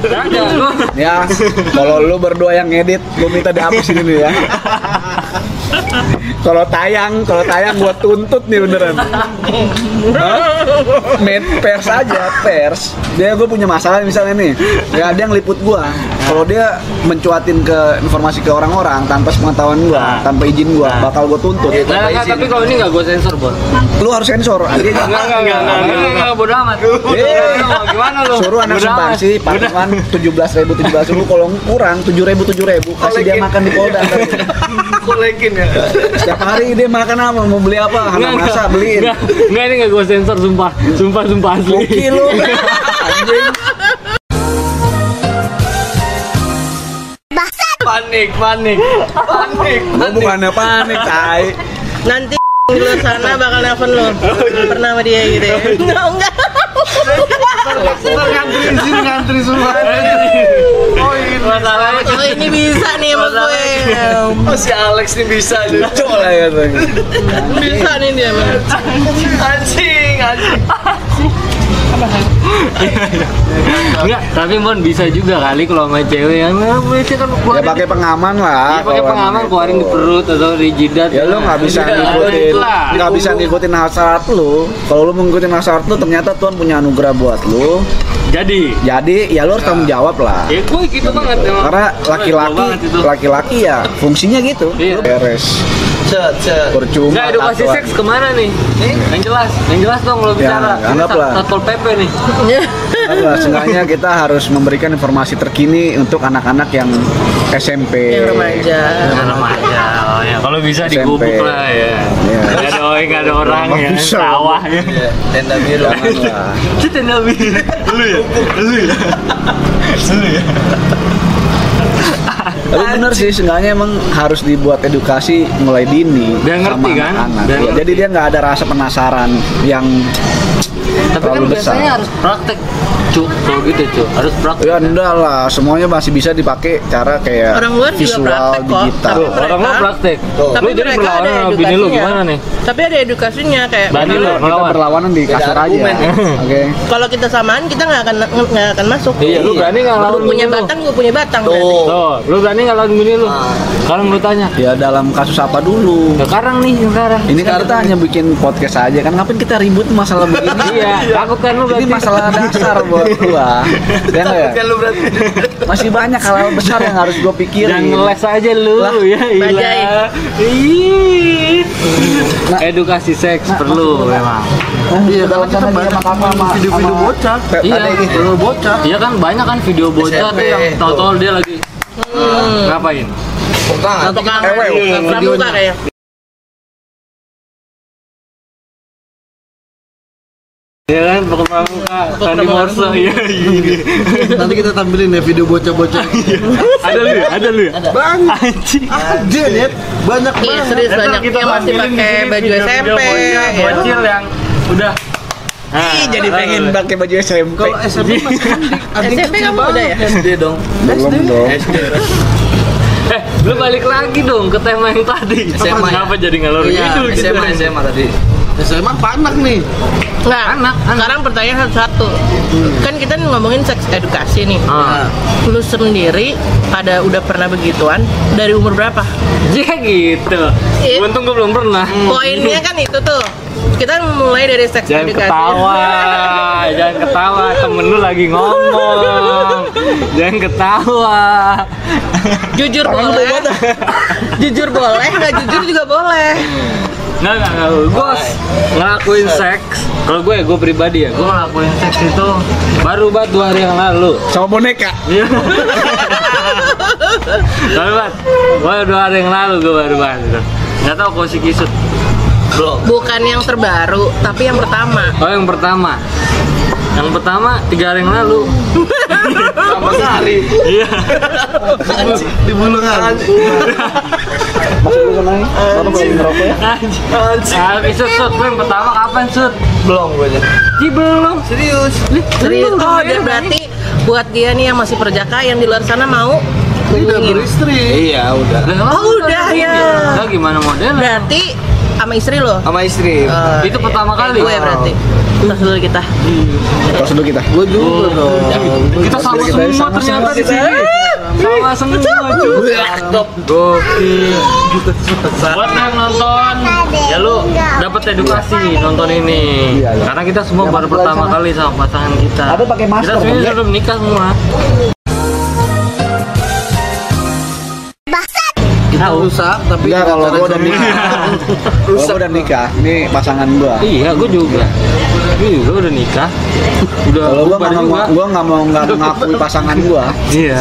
[SPEAKER 4] Kagak gua.
[SPEAKER 5] ya kalau lu berdua yang ngedit gue minta dihapus ini nih ya kalau tayang kalau tayang gue tuntut nih beneran Hah? main pers aja pers dia gue punya masalah misalnya nih ya dia ngeliput gue kalau dia mencuatin ke informasi ke orang-orang tanpa sepengetahuan gue tanpa izin gue bakal gue tuntut
[SPEAKER 4] Nah, enggak, tapi kalau ini enggak gue sensor, Bon.
[SPEAKER 5] lu harus sensor dia
[SPEAKER 4] Enggak, enggak, enggak, enggak, enggak, enggak, bodo amat.
[SPEAKER 5] Eh.
[SPEAKER 4] Mau Iya. Gimana lu?
[SPEAKER 5] suruh anak
[SPEAKER 4] Bodo amat.
[SPEAKER 5] sumbangsi patungan tujuh belas ribu tujuh belas ribu kalau kurang tujuh ribu tujuh ribu kasih dia makan di Polda ntar.
[SPEAKER 4] [LAUGHS]
[SPEAKER 6] Kolekin ya.
[SPEAKER 5] setiap hari dia makan apa mau beli apa
[SPEAKER 4] Enggak,
[SPEAKER 5] anak masa
[SPEAKER 4] enggak.
[SPEAKER 5] beliin
[SPEAKER 4] Enggak, enggak, ini enggak gue sensor, sumpah. Sumpah, sumpah asli.
[SPEAKER 5] Oke
[SPEAKER 4] [LAUGHS]
[SPEAKER 5] lu
[SPEAKER 6] Panik, panik, panik.
[SPEAKER 5] Gua bukannya panik tai
[SPEAKER 2] Nanti di luar sana bakal nelfon lo Pernah sama dia gitu ya Enggak, enggak
[SPEAKER 3] Ngantri sini, ngantri
[SPEAKER 4] [LAUGHS]
[SPEAKER 3] semua.
[SPEAKER 6] Oh
[SPEAKER 5] iya.
[SPEAKER 6] ini masalahnya.
[SPEAKER 2] Oh ini bisa nih sama gue
[SPEAKER 6] Oh si Alex nih bisa aja.
[SPEAKER 5] Cok lah ya tuh.
[SPEAKER 2] Bisa nih dia
[SPEAKER 6] Anjing, anjing.
[SPEAKER 4] Enggak, tapi Mon bisa juga kali kalau sama cewek yang "Ah, biasanya kan
[SPEAKER 5] ya
[SPEAKER 4] keluarin
[SPEAKER 5] pakai pengaman lah
[SPEAKER 4] Iya pakai
[SPEAKER 5] kalau
[SPEAKER 4] pengaman
[SPEAKER 5] emang
[SPEAKER 4] keluarin
[SPEAKER 5] itu.
[SPEAKER 4] di perut atau di jidat.
[SPEAKER 5] ya lu nggak bisa
[SPEAKER 4] Iya,
[SPEAKER 5] ngikutin
[SPEAKER 4] itulah.
[SPEAKER 5] nggak bisa ngikutin hasrat lu kalau lu mengikutin hasrat lu ternyata Tuhan punya anugerah buat lu
[SPEAKER 4] Jadi,
[SPEAKER 5] jadi ya lu harus tanggung jawab lah
[SPEAKER 4] ya gue gitu banget emang.
[SPEAKER 5] karena
[SPEAKER 4] Gue gitu
[SPEAKER 5] laki-laki
[SPEAKER 4] banget itu.
[SPEAKER 5] laki-laki ya fungsinya gitu
[SPEAKER 4] Iya.
[SPEAKER 5] beres
[SPEAKER 6] Cet, cet.
[SPEAKER 5] percuma
[SPEAKER 4] Enggak edukasi
[SPEAKER 5] tatuan.
[SPEAKER 4] seks [LAUGHS] kemana nih? Yang jelas, yang jelas dong lo
[SPEAKER 5] Eh? Ya,
[SPEAKER 4] bicara.
[SPEAKER 5] anggaplah. Eh,
[SPEAKER 4] Satpol PP nih. Nah,
[SPEAKER 5] Apa, seenggaknya kita harus memberikan informasi terkini untuk anak-anak yang SMP
[SPEAKER 2] yang remaja
[SPEAKER 4] remaja. Oh, ya. Kalau bisa
[SPEAKER 5] SMP.
[SPEAKER 4] digubuk lah ya.
[SPEAKER 5] Iya.
[SPEAKER 4] Enggak ada oi, nggak ada orang
[SPEAKER 5] Nggak
[SPEAKER 4] ya.
[SPEAKER 5] bisa.
[SPEAKER 4] Sawah ya.
[SPEAKER 6] Iya, Tenda biru.
[SPEAKER 5] Jangan lah.
[SPEAKER 4] Itu tenda biru. Lu ya.
[SPEAKER 5] Tapi bener sih, seenggaknya emang harus dibuat edukasi mulai dini
[SPEAKER 4] Dia ngerti kan?
[SPEAKER 5] anak-anak.
[SPEAKER 4] Dia
[SPEAKER 5] Iya,
[SPEAKER 4] ngerti.
[SPEAKER 5] Jadi dia nggak ada rasa penasaran yang
[SPEAKER 4] Tapi kan
[SPEAKER 5] Terlalu besar.
[SPEAKER 4] biasanya harus praktek. Cuk, kalau gitu cuk, harus praktek.
[SPEAKER 5] ya enggak lah, semuanya masih bisa dipakai cara kayak
[SPEAKER 2] Orang luar juga
[SPEAKER 5] visual,
[SPEAKER 2] praktek kok,
[SPEAKER 5] digital.
[SPEAKER 2] tapi mereka-
[SPEAKER 4] Orang lo praktek.
[SPEAKER 5] Tuh.
[SPEAKER 4] Oh. Lu jadi perlawanan sama bini lu gimana nih?
[SPEAKER 2] tapi ada edukasinya kayak
[SPEAKER 4] Berani lu
[SPEAKER 5] Kita
[SPEAKER 4] melawan.
[SPEAKER 5] berlawanan di kasur aja.
[SPEAKER 6] argumen.
[SPEAKER 5] Oke.
[SPEAKER 2] kalau kita samaan kita nggak akan nggak akan masuk
[SPEAKER 4] Iya, Oh. lu berani nggak lawan
[SPEAKER 2] lu
[SPEAKER 4] bini
[SPEAKER 2] punya
[SPEAKER 4] lu?
[SPEAKER 2] batang gue punya batang berarti.
[SPEAKER 6] Tuh.
[SPEAKER 4] Tuh, lu berani nggak lawan bini lu?
[SPEAKER 5] Ah.
[SPEAKER 4] Sekarang lu tanya.
[SPEAKER 5] Ya dalam kasus apa dulu?
[SPEAKER 4] Sekarang nih, sekarang.
[SPEAKER 5] Ini kan kita hanya bikin podcast aja kan ngapain kita ribut masalah begini?
[SPEAKER 4] Iya, takut kan lu
[SPEAKER 5] Ini
[SPEAKER 4] berarti.
[SPEAKER 5] masalah dasar buat gua. Ya nggak ya?
[SPEAKER 6] Kan lu berarti.
[SPEAKER 5] Masih banyak hal-hal besar yang harus gua pikirin.
[SPEAKER 4] Jangan ngeles aja lu
[SPEAKER 5] Lah,
[SPEAKER 4] ya Nah.
[SPEAKER 2] bajai.
[SPEAKER 4] ilah. Ih.
[SPEAKER 5] Nah.
[SPEAKER 4] Edukasi seks perlu memang.
[SPEAKER 5] Iya,
[SPEAKER 3] karena kita banyak video-video bocah.
[SPEAKER 4] Iya.
[SPEAKER 5] Iya, gitu.
[SPEAKER 3] Lu bocah.
[SPEAKER 4] Iya kan banyak kan video bocah
[SPEAKER 6] SMP,
[SPEAKER 4] tuh yang
[SPEAKER 6] tuh.
[SPEAKER 4] tau-tau dia lagi Hmm. ngapain?
[SPEAKER 6] Pertama.
[SPEAKER 2] atau kangen pramuka
[SPEAKER 4] eh.
[SPEAKER 2] kayak
[SPEAKER 4] Ya kan pramuka, Sandi Morse iya iya.
[SPEAKER 3] Nanti kita tampilin ya video bocah-bocah.
[SPEAKER 4] Ada lu, ya? ada lu. ya?
[SPEAKER 3] Bang,
[SPEAKER 4] Anjing.
[SPEAKER 3] ada ya. Banyak
[SPEAKER 2] Iya
[SPEAKER 3] banget.
[SPEAKER 2] serius
[SPEAKER 4] Ntar
[SPEAKER 2] banyak
[SPEAKER 4] kita
[SPEAKER 2] yang masih
[SPEAKER 4] tampilin di
[SPEAKER 2] pakai
[SPEAKER 4] sini
[SPEAKER 2] baju
[SPEAKER 4] video-video
[SPEAKER 2] SMP
[SPEAKER 4] bocah,
[SPEAKER 2] ya.
[SPEAKER 4] Bocil yang udah Nah,
[SPEAKER 2] Ih, jadi pengen
[SPEAKER 4] lalu.
[SPEAKER 5] pakai baju SMP.
[SPEAKER 3] Kalau SMP
[SPEAKER 4] Iya.
[SPEAKER 3] masih adik
[SPEAKER 2] SMP
[SPEAKER 3] kecil
[SPEAKER 2] kamu udah ya?
[SPEAKER 3] banget.
[SPEAKER 6] SD dong.
[SPEAKER 5] Belum dong.
[SPEAKER 4] Eh, lu balik lagi dong ke tema yang tadi.
[SPEAKER 6] SMA, ya?
[SPEAKER 4] Kenapa jadi ngalor
[SPEAKER 6] Iya,
[SPEAKER 4] gitu? gitu?
[SPEAKER 6] SMA, SMA tadi.
[SPEAKER 3] SMA panak nih.
[SPEAKER 2] Nah,
[SPEAKER 4] Anak, anak.
[SPEAKER 2] sekarang pertanyaan satu-satu. Kan kita ngomongin seks edukasi nih.
[SPEAKER 4] Ah.
[SPEAKER 2] Lu sendiri pada udah pernah begituan dari umur berapa?
[SPEAKER 4] Ya gitu.
[SPEAKER 2] It-
[SPEAKER 4] Untung gue belum pernah.
[SPEAKER 2] Poinnya kan itu tuh. Kita mulai dari seks
[SPEAKER 4] Hmm, Jangan
[SPEAKER 2] edukasi.
[SPEAKER 4] ketawa,
[SPEAKER 2] [LAUGHS]
[SPEAKER 4] jangan ketawa. Temen lu lagi ngomong. Jangan ketawa.
[SPEAKER 2] jujur boleh. jujur boleh, nggak jujur juga boleh.
[SPEAKER 4] Nggak, nggak, nggak. Gue ngelakuin seks. Kalau gue, gue pribadi ya, gue ngelakuin seks itu baru banget dua hari yang lalu.
[SPEAKER 5] Sama boneka.
[SPEAKER 4] Iya. Baru banget. Baru dua hari yang lalu gue baru banget. Nggak tahu kau si kisut.
[SPEAKER 6] Belum.
[SPEAKER 2] Bukan yang terbaru, tapi yang pertama.
[SPEAKER 4] Oh yang pertama. Yang pertama tiga hari yang lalu.
[SPEAKER 6] Sama sehari.
[SPEAKER 4] Iya.
[SPEAKER 3] Di bulungan.
[SPEAKER 5] Masuk dulu sana. Kalau belum ngerokok ya.
[SPEAKER 4] Anjing. Tapi sut, Ah, sut, Lu yang pertama kapan sut?
[SPEAKER 6] Belum gue aja.
[SPEAKER 4] Ji belum.
[SPEAKER 6] Serius.
[SPEAKER 2] Serius.
[SPEAKER 4] Belum,
[SPEAKER 2] Oh,
[SPEAKER 4] belum,
[SPEAKER 2] dan
[SPEAKER 4] belum.
[SPEAKER 2] berarti buat dia nih yang masih perjaka yang di luar sana mau
[SPEAKER 3] Tidak
[SPEAKER 2] hubungin.
[SPEAKER 3] beristri.
[SPEAKER 6] Iya, udah.
[SPEAKER 4] Lah,
[SPEAKER 2] Oh,
[SPEAKER 4] lu
[SPEAKER 2] udah,
[SPEAKER 4] kan
[SPEAKER 2] ya.
[SPEAKER 4] gitu. Lah, gimana modelnya?
[SPEAKER 2] Berarti sama istri lo.
[SPEAKER 6] Sama istri.
[SPEAKER 3] Ah.
[SPEAKER 2] Eh,
[SPEAKER 4] Itu pertama
[SPEAKER 2] kayak
[SPEAKER 4] kali.
[SPEAKER 2] Gue berarti. Terus dulu kita.
[SPEAKER 5] Terus dulu kita.
[SPEAKER 3] Gue juga dong.
[SPEAKER 4] Oh. Ya, Kita sama
[SPEAKER 5] Kita
[SPEAKER 4] semua
[SPEAKER 5] sama
[SPEAKER 4] ternyata
[SPEAKER 5] semua.
[SPEAKER 4] di sini. Sama semua cuy. Gokil. Buat yang nonton, ya lu dapat edukasi nonton ini.
[SPEAKER 5] Iya, iya.
[SPEAKER 4] Karena kita semua
[SPEAKER 5] Yang
[SPEAKER 4] baru
[SPEAKER 5] kebetulan
[SPEAKER 4] pertama
[SPEAKER 5] sana.
[SPEAKER 4] kali sama pasangan kita.
[SPEAKER 5] Ada pakai masker,
[SPEAKER 4] Kita sebenarnya
[SPEAKER 5] kan, ya?
[SPEAKER 4] sudah menikah semua.
[SPEAKER 3] Kita
[SPEAKER 4] Tahu.
[SPEAKER 3] rusak tapi
[SPEAKER 5] Enggak kalau
[SPEAKER 3] cara
[SPEAKER 5] gua udah
[SPEAKER 3] seru.
[SPEAKER 4] [LAUGHS]
[SPEAKER 5] nikah. Kalau gua udah nikah, ini pasangan gua.
[SPEAKER 4] Iya, gue juga. Gue juga udah nikah. Udah
[SPEAKER 5] Kalau gua
[SPEAKER 4] bubar
[SPEAKER 5] nggak mau, gua nggak mau nggak mengakui pasangan
[SPEAKER 4] [LAUGHS]
[SPEAKER 5] gua.
[SPEAKER 4] Iya.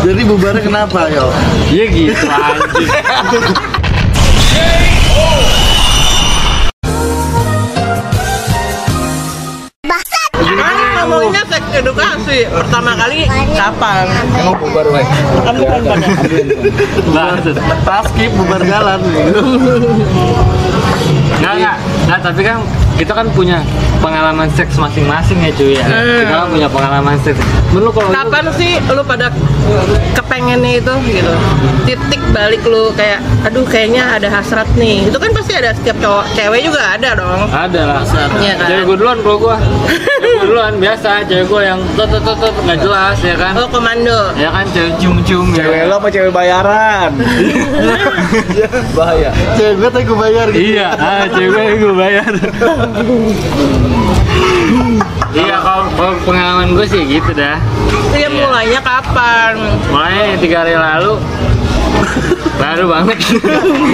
[SPEAKER 3] Jadi bubarnya kenapa yo?
[SPEAKER 4] Iya gitu anjing.
[SPEAKER 2] Kan ngomonginnya seks edukasi. Pertama kali kapan?
[SPEAKER 6] Emang bubar, weh.
[SPEAKER 4] Nah, Maksud.
[SPEAKER 3] Pas skip bubar jalan.
[SPEAKER 4] Nggak, nggak. Nggak, tapi kan kita kan punya pengalaman seks masing-masing ya cuy ya.
[SPEAKER 2] Hmm.
[SPEAKER 4] Kita kan punya pengalaman seks. Menurut lu kalau lu-
[SPEAKER 2] Kapan sih lu pada kepengennya itu gitu? Titik balik lu kayak, aduh kayaknya ada hasrat nih. Itu kan pasti ada setiap cowok, cewek juga ada dong.
[SPEAKER 4] ada lah.
[SPEAKER 2] Iya kan?
[SPEAKER 4] Cewek gue duluan kalau gue. Cewek gue duluan biasa. Cewek gue yang tot tot tot tot, nggak jelas ya kan.
[SPEAKER 2] Oh komando.
[SPEAKER 4] Ya kan cewek cium-cium ya.
[SPEAKER 5] Cewek lo apa cewek
[SPEAKER 4] [LAUGHS]
[SPEAKER 5] bayaran? Bahaya.
[SPEAKER 3] Cewek gue tadi gue bayar gitu.
[SPEAKER 4] Iya, ah, cewek yang gue bayar. iya, kalau, kalau pengalaman gue sih gitu dah.
[SPEAKER 2] Itu ya mulainya kapan?
[SPEAKER 4] Mulai tiga hari lalu, baru banget.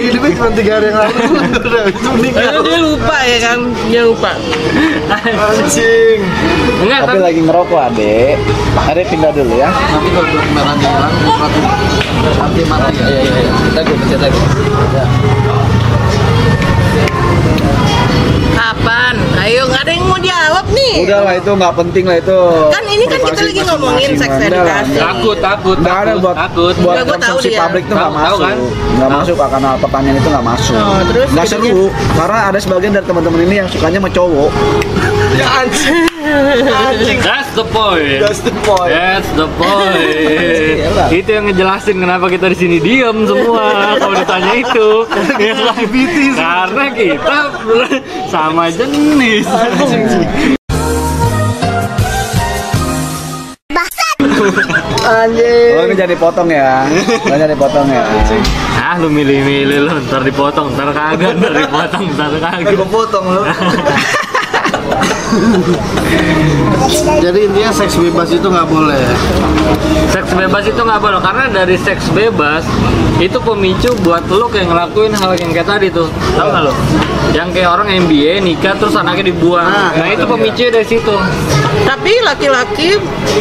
[SPEAKER 3] Hidupnya cuma tiga hari yang lalu. Udah, itu meninggal.
[SPEAKER 2] Karena dia lupa ya kan? Dia lupa.
[SPEAKER 3] Anjing.
[SPEAKER 4] Enggak,
[SPEAKER 5] Tapi
[SPEAKER 4] tapi
[SPEAKER 5] lagi ngerokok adek. Adek pindah dulu ya.
[SPEAKER 3] Tapi kalau belum merah hilang, mati mati mati.
[SPEAKER 4] Iya,
[SPEAKER 3] Ya, ya, ya. Kita gue pencet lagi.
[SPEAKER 2] Kapan? Ayo nggak ada yang mau jawab nih.
[SPEAKER 5] Udah lah itu nggak penting lah itu.
[SPEAKER 2] Kan ini kan kita lagi ngomongin seks edukasi.
[SPEAKER 4] takut, takut,
[SPEAKER 5] Nggak ada
[SPEAKER 4] takut,
[SPEAKER 5] buat
[SPEAKER 4] takut.
[SPEAKER 5] buat
[SPEAKER 2] Nggak, gua tahu
[SPEAKER 5] konsumsi
[SPEAKER 2] dia.
[SPEAKER 5] publik tuh nggak
[SPEAKER 4] Tahu, tahu
[SPEAKER 5] masuk,
[SPEAKER 4] kan?
[SPEAKER 5] nggak masuk karena pertanyaan itu nggak masuk,
[SPEAKER 2] Oh, terus
[SPEAKER 5] nggak
[SPEAKER 2] jadinya-
[SPEAKER 5] seru karena ada sebagian dari teman-teman ini yang sukanya sama cowok.
[SPEAKER 4] That's the point. That's the point. That's the point.
[SPEAKER 5] [LAUGHS] Iyalah.
[SPEAKER 4] itu yang ngejelasin kenapa kita di sini diem semua kalau ditanya
[SPEAKER 5] [LAUGHS]
[SPEAKER 4] itu. Karena kita sama jenis.
[SPEAKER 5] Lo ini jadi potong ya, lo jadi potong ya.
[SPEAKER 4] Ah lu milih-milih lu ntar dipotong, ntar kagak, ntar dipotong, ntar kagak.
[SPEAKER 3] potong lo. Jadi intinya seks bebas itu nggak boleh.
[SPEAKER 4] Seks bebas itu nggak boleh karena dari seks bebas itu pemicu buat lu kayak ngelakuin hal yang kayak tadi tuh. Tahu nggak lu? Yang kayak orang MBA nikah terus anaknya dibuang.
[SPEAKER 3] Ah,
[SPEAKER 4] Nah, itu pemicu dari situ.
[SPEAKER 2] Tapi laki-laki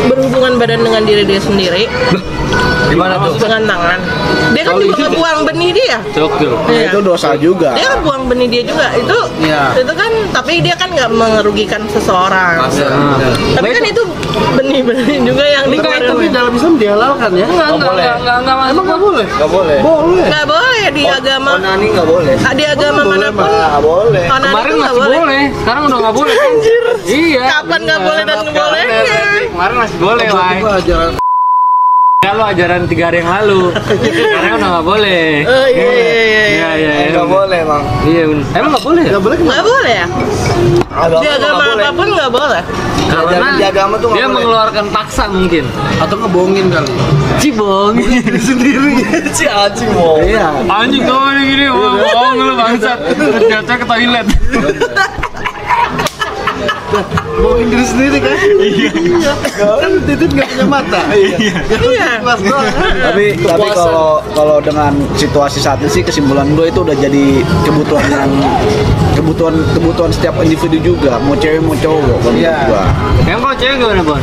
[SPEAKER 2] berhubungan badan dengan diri dia sendiri
[SPEAKER 4] Gimana tuh?
[SPEAKER 2] dengan tangan. Dia kan
[SPEAKER 4] Oh,
[SPEAKER 2] juga
[SPEAKER 4] iya.
[SPEAKER 2] ngebuang benih dia.
[SPEAKER 4] Cok tuh.
[SPEAKER 5] Nah,
[SPEAKER 2] Iya.
[SPEAKER 5] itu dosa juga.
[SPEAKER 2] Dia ngebuang benih dia juga. Itu
[SPEAKER 3] Iya.
[SPEAKER 2] itu kan tapi dia kan nggak merugikan seseorang.
[SPEAKER 6] ya.
[SPEAKER 3] Ah.
[SPEAKER 2] Tapi kan itu benih-benih juga yang
[SPEAKER 3] Tapi
[SPEAKER 2] dikeluarkan.
[SPEAKER 3] tapi dalam Islam dihalalkan ya?
[SPEAKER 4] Enggak, enggak, enggak, enggak, enggak, Mas.
[SPEAKER 3] Emang nggak boleh?
[SPEAKER 5] Nggak boleh.
[SPEAKER 3] Boleh.
[SPEAKER 2] Nggak boleh di agama
[SPEAKER 5] Onani nggak boleh.
[SPEAKER 2] di agama
[SPEAKER 3] nah. boleh,
[SPEAKER 2] manapun.
[SPEAKER 5] Nggak boleh.
[SPEAKER 2] onani
[SPEAKER 4] Kemarin
[SPEAKER 2] itu nggak
[SPEAKER 4] masih boleh. sekarang udah nggak boleh. Anjir. Iya.
[SPEAKER 2] Kapan nggak
[SPEAKER 4] bener.
[SPEAKER 2] boleh dan
[SPEAKER 4] Kapan
[SPEAKER 2] bolehnya?
[SPEAKER 4] nggak boleh? Kemarin masih boleh, Lai.
[SPEAKER 3] Coba ajaran
[SPEAKER 4] Ya lo ajaran tiga hari yang lalu. Karena udah nggak boleh.
[SPEAKER 2] Oh, iya, iya, iya,
[SPEAKER 4] Iya, iya.
[SPEAKER 5] Nggak boleh bang.
[SPEAKER 4] Iya, bener. Emang nggak boleh? ya?
[SPEAKER 3] nggak boleh
[SPEAKER 2] Nggak boleh ya? Di agama apapun nggak boleh.
[SPEAKER 4] Karena
[SPEAKER 5] Di agama tuh nggak
[SPEAKER 4] dia
[SPEAKER 5] boleh.
[SPEAKER 4] mengeluarkan paksa mungkin.
[SPEAKER 3] atau ngebohongin kali.
[SPEAKER 4] Cibong.
[SPEAKER 5] Iya.
[SPEAKER 4] Anjing kau ini gini, bohong lu bangsat. Ternyata ke toilet.
[SPEAKER 3] Bohongin diri sendiri kan? Iya. Kan titit nggak punya mata. Iya.
[SPEAKER 2] Iya.
[SPEAKER 3] Kelas doang.
[SPEAKER 5] tapi tapi kalau kalau dengan situasi saat ini sih kesimpulan gue itu udah jadi kebutuhan yang kebutuhan kebutuhan setiap individu juga mau cewek mau cowok kalau
[SPEAKER 3] Iya.
[SPEAKER 5] menurut gua.
[SPEAKER 4] Yang kau cewek gimana, Bon?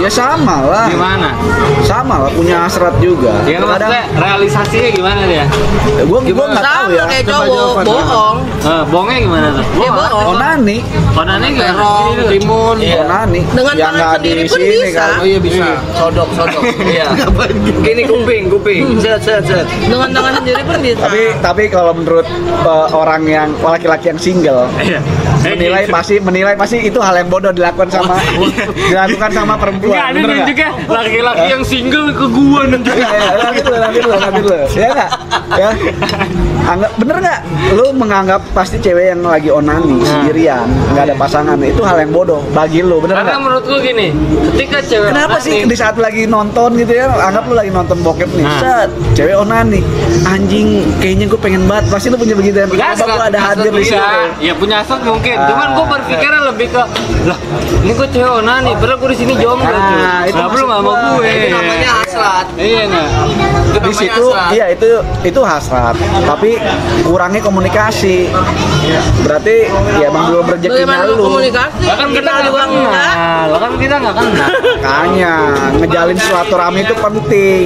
[SPEAKER 5] ya sama lah
[SPEAKER 3] Iya,
[SPEAKER 4] Gimana?
[SPEAKER 5] sama lah punya hasrat juga
[SPEAKER 4] Ya maksudnya realisasinya gimana dia?
[SPEAKER 5] gue gue nggak tahu
[SPEAKER 2] Sama
[SPEAKER 5] ya
[SPEAKER 2] kayak
[SPEAKER 3] Coba
[SPEAKER 2] cowok,
[SPEAKER 3] jawaban.
[SPEAKER 2] bohong.
[SPEAKER 4] Eh, bongnya gimana tuh?
[SPEAKER 2] Dia bohong.
[SPEAKER 5] onani
[SPEAKER 4] Konannya gimana?
[SPEAKER 3] Terong,
[SPEAKER 4] Gini dulu.
[SPEAKER 3] timun.
[SPEAKER 5] onani
[SPEAKER 2] Dengan
[SPEAKER 5] ya
[SPEAKER 2] tangan
[SPEAKER 5] nggak di
[SPEAKER 2] sendiri pun
[SPEAKER 5] sini
[SPEAKER 2] bisa.
[SPEAKER 5] kan
[SPEAKER 3] Iya. Oh iya bisa.
[SPEAKER 6] Sodok, sodok. Iya. Gini kuping, kuping. Set, set, set.
[SPEAKER 2] Dengan tangan sendiri pun bisa.
[SPEAKER 5] tapi
[SPEAKER 3] Iya.
[SPEAKER 5] tapi kalau menurut eh, orang yang laki-laki yang single
[SPEAKER 4] Iya.
[SPEAKER 3] Eh,
[SPEAKER 5] menilai
[SPEAKER 3] gitu.
[SPEAKER 5] pasti menilai pasti itu hal yang bodoh dilakukan sama
[SPEAKER 3] Oh, iya.
[SPEAKER 5] dilakukan sama perempuan
[SPEAKER 4] Enggak ada
[SPEAKER 5] bener nggak?
[SPEAKER 4] nunjuknya laki-laki yang single ke gua nunjuknya.
[SPEAKER 5] Ya, ya, lanjut lo, lanjut lo, lanjut lo. Ya nggak? Ya. Anggap bener nggak? Lu menganggap pasti cewek yang lagi onani sendirian, nggak ada pasangan, itu hal yang bodoh bagi lu, bener
[SPEAKER 4] Karena
[SPEAKER 5] nggak?
[SPEAKER 4] menurut gua gini, ketika cewek
[SPEAKER 5] Kenapa
[SPEAKER 4] onani,
[SPEAKER 5] sih di saat lagi nonton gitu ya, anggap lu lagi nonton bokep nih,
[SPEAKER 4] Nah.
[SPEAKER 5] set, cewek onani, anjing, kayaknya gue pengen banget, pasti lu punya begitu, ya.
[SPEAKER 4] punya
[SPEAKER 5] kenapa
[SPEAKER 4] hasrat,
[SPEAKER 5] lu ada
[SPEAKER 4] hasrat
[SPEAKER 5] hadir di
[SPEAKER 4] juga.
[SPEAKER 5] situ?
[SPEAKER 4] Ya punya hasrat mungkin.
[SPEAKER 5] Ah.
[SPEAKER 4] Cuman gua berpikirnya lebih ke lah, ini gua cewek onani, padahal gua di sini jomblo
[SPEAKER 5] Ah,
[SPEAKER 4] tuh.
[SPEAKER 5] itu
[SPEAKER 4] Nah, belum
[SPEAKER 5] maksud
[SPEAKER 4] sama
[SPEAKER 5] gua.
[SPEAKER 4] gue.
[SPEAKER 5] Itu
[SPEAKER 6] Namanya
[SPEAKER 2] Ya,
[SPEAKER 6] hasrat.
[SPEAKER 4] Iya enggak?
[SPEAKER 6] Itu
[SPEAKER 5] di
[SPEAKER 6] namanya
[SPEAKER 5] situ
[SPEAKER 6] hasrat.
[SPEAKER 5] iya itu itu hasrat tapi kurangnya komunikasi berarti ya emang belum rezekinya
[SPEAKER 2] Bagaimana
[SPEAKER 5] lu
[SPEAKER 2] komunikasi?
[SPEAKER 4] Lah kan kita
[SPEAKER 2] Kita
[SPEAKER 4] nggak
[SPEAKER 2] juga enggak.
[SPEAKER 4] kenal, lah kan kita nggak kenal.
[SPEAKER 5] Makanya ngejalin silaturahmi itu penting.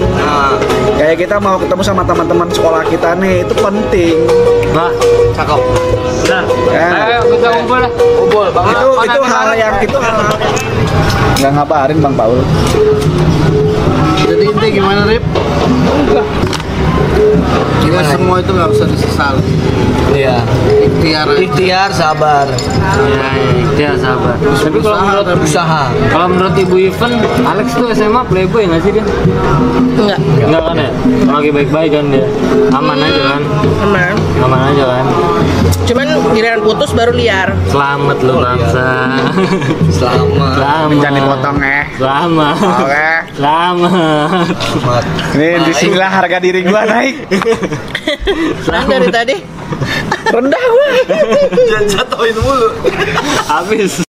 [SPEAKER 5] Kayak kita mau ketemu sama teman-teman sekolah kita nih itu penting.
[SPEAKER 4] Nah,
[SPEAKER 6] Cakep.
[SPEAKER 4] nah,
[SPEAKER 5] Ya.
[SPEAKER 4] ayo kita ngumpul lah.
[SPEAKER 6] Kumpul, bang.
[SPEAKER 5] itu
[SPEAKER 4] apa
[SPEAKER 5] itu
[SPEAKER 4] nanti
[SPEAKER 5] hal
[SPEAKER 4] bareng?
[SPEAKER 5] yang itu hal nggak ngabarin bang Paul.
[SPEAKER 3] Jadi intinya gimana
[SPEAKER 4] Nah.
[SPEAKER 3] Rip? Kita semua itu nggak usah disesali.
[SPEAKER 6] Iya.
[SPEAKER 3] ikhtiar
[SPEAKER 6] Ikhtiar sabar,
[SPEAKER 4] ya ikhtiar sabar tapi kalau
[SPEAKER 3] Usaha,
[SPEAKER 4] menurut
[SPEAKER 3] tapi-
[SPEAKER 6] usaha.
[SPEAKER 4] kalau menurut ibu Ivan Alex tuh SMA playboy nggak sih dia
[SPEAKER 2] Enggak.
[SPEAKER 4] Enggak kan ya lagi baik-baik kan dia aman aja kan
[SPEAKER 2] Emang.
[SPEAKER 4] aman aja kan
[SPEAKER 2] Cuman giliran putus baru liar.
[SPEAKER 4] selamat lu
[SPEAKER 5] [LAUGHS]
[SPEAKER 4] bangsa
[SPEAKER 6] Selamat.
[SPEAKER 4] selamat
[SPEAKER 5] Oh, iya. Jangan dipotong eh.
[SPEAKER 4] selamat
[SPEAKER 5] Oke.
[SPEAKER 4] selamat
[SPEAKER 6] Selamat.
[SPEAKER 5] Ini disinilah harga diri gua naik.
[SPEAKER 2] Kan dari tadi
[SPEAKER 5] Rendah gua.
[SPEAKER 6] Jangan jatuhin mulu.
[SPEAKER 4] habis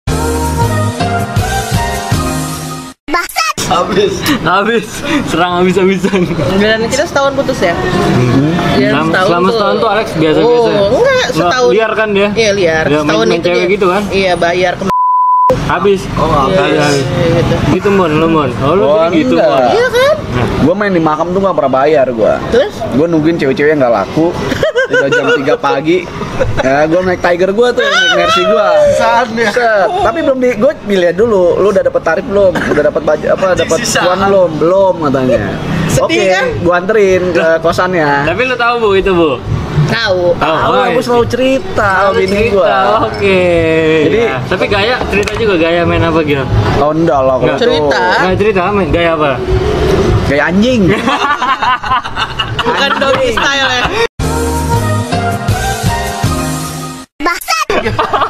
[SPEAKER 6] Habis.
[SPEAKER 4] habis serang habis-habisan
[SPEAKER 2] giliran kita setahun putus ya.
[SPEAKER 5] Mm-hmm.
[SPEAKER 2] Giliran
[SPEAKER 4] Selama, selama setahun tuh Alex biasa-biasa ya?
[SPEAKER 2] Iya, Oh, enggak setahun.
[SPEAKER 4] Liar kan dia?
[SPEAKER 2] Iya liar.
[SPEAKER 4] Dia main-
[SPEAKER 2] setahun
[SPEAKER 4] main
[SPEAKER 2] itu
[SPEAKER 4] cewek
[SPEAKER 2] dia-
[SPEAKER 4] gitu kan?
[SPEAKER 2] Iya bayar ke
[SPEAKER 4] Habis. Oh,
[SPEAKER 2] Iya,
[SPEAKER 4] habis.
[SPEAKER 2] iya, gitu.
[SPEAKER 4] Gitu mon, lu mon. Oh, lu
[SPEAKER 5] Oh,
[SPEAKER 4] jadi gitu mon.
[SPEAKER 5] enggak.
[SPEAKER 2] Iya kan?
[SPEAKER 5] Gua main di makam tuh gak pernah bayar gua.
[SPEAKER 2] Terus
[SPEAKER 5] Gue nungguin cewek-cewek yang gak laku Udah jam 3 pagi Ya gue naik tiger gue tuh Naik mercy gue Set. Tapi belum di Gue milih dulu Lu udah dapet tarif belum? Udah dapet baju Apa dapet
[SPEAKER 6] Sisa.
[SPEAKER 5] cuan belum? Belum katanya
[SPEAKER 2] Sedih,
[SPEAKER 5] Oke
[SPEAKER 2] kan?
[SPEAKER 5] Gue anterin ke ya. kosannya
[SPEAKER 4] Tapi lu tahu Bu itu Bu?
[SPEAKER 2] tahu.
[SPEAKER 4] Tahu.
[SPEAKER 5] Tahu
[SPEAKER 4] oh,
[SPEAKER 5] aku selalu cerita sama bini gue
[SPEAKER 4] cerita, Oke. Jadi,
[SPEAKER 5] Jadi-
[SPEAKER 4] tapi gaya cerita juga gaya main apa gitu?
[SPEAKER 5] Ondol lah
[SPEAKER 4] Nggak.
[SPEAKER 2] Cerita. Hah?
[SPEAKER 4] Nggak cerita main gaya apa?
[SPEAKER 5] Kayak anjing
[SPEAKER 2] Bukan doggy style ya.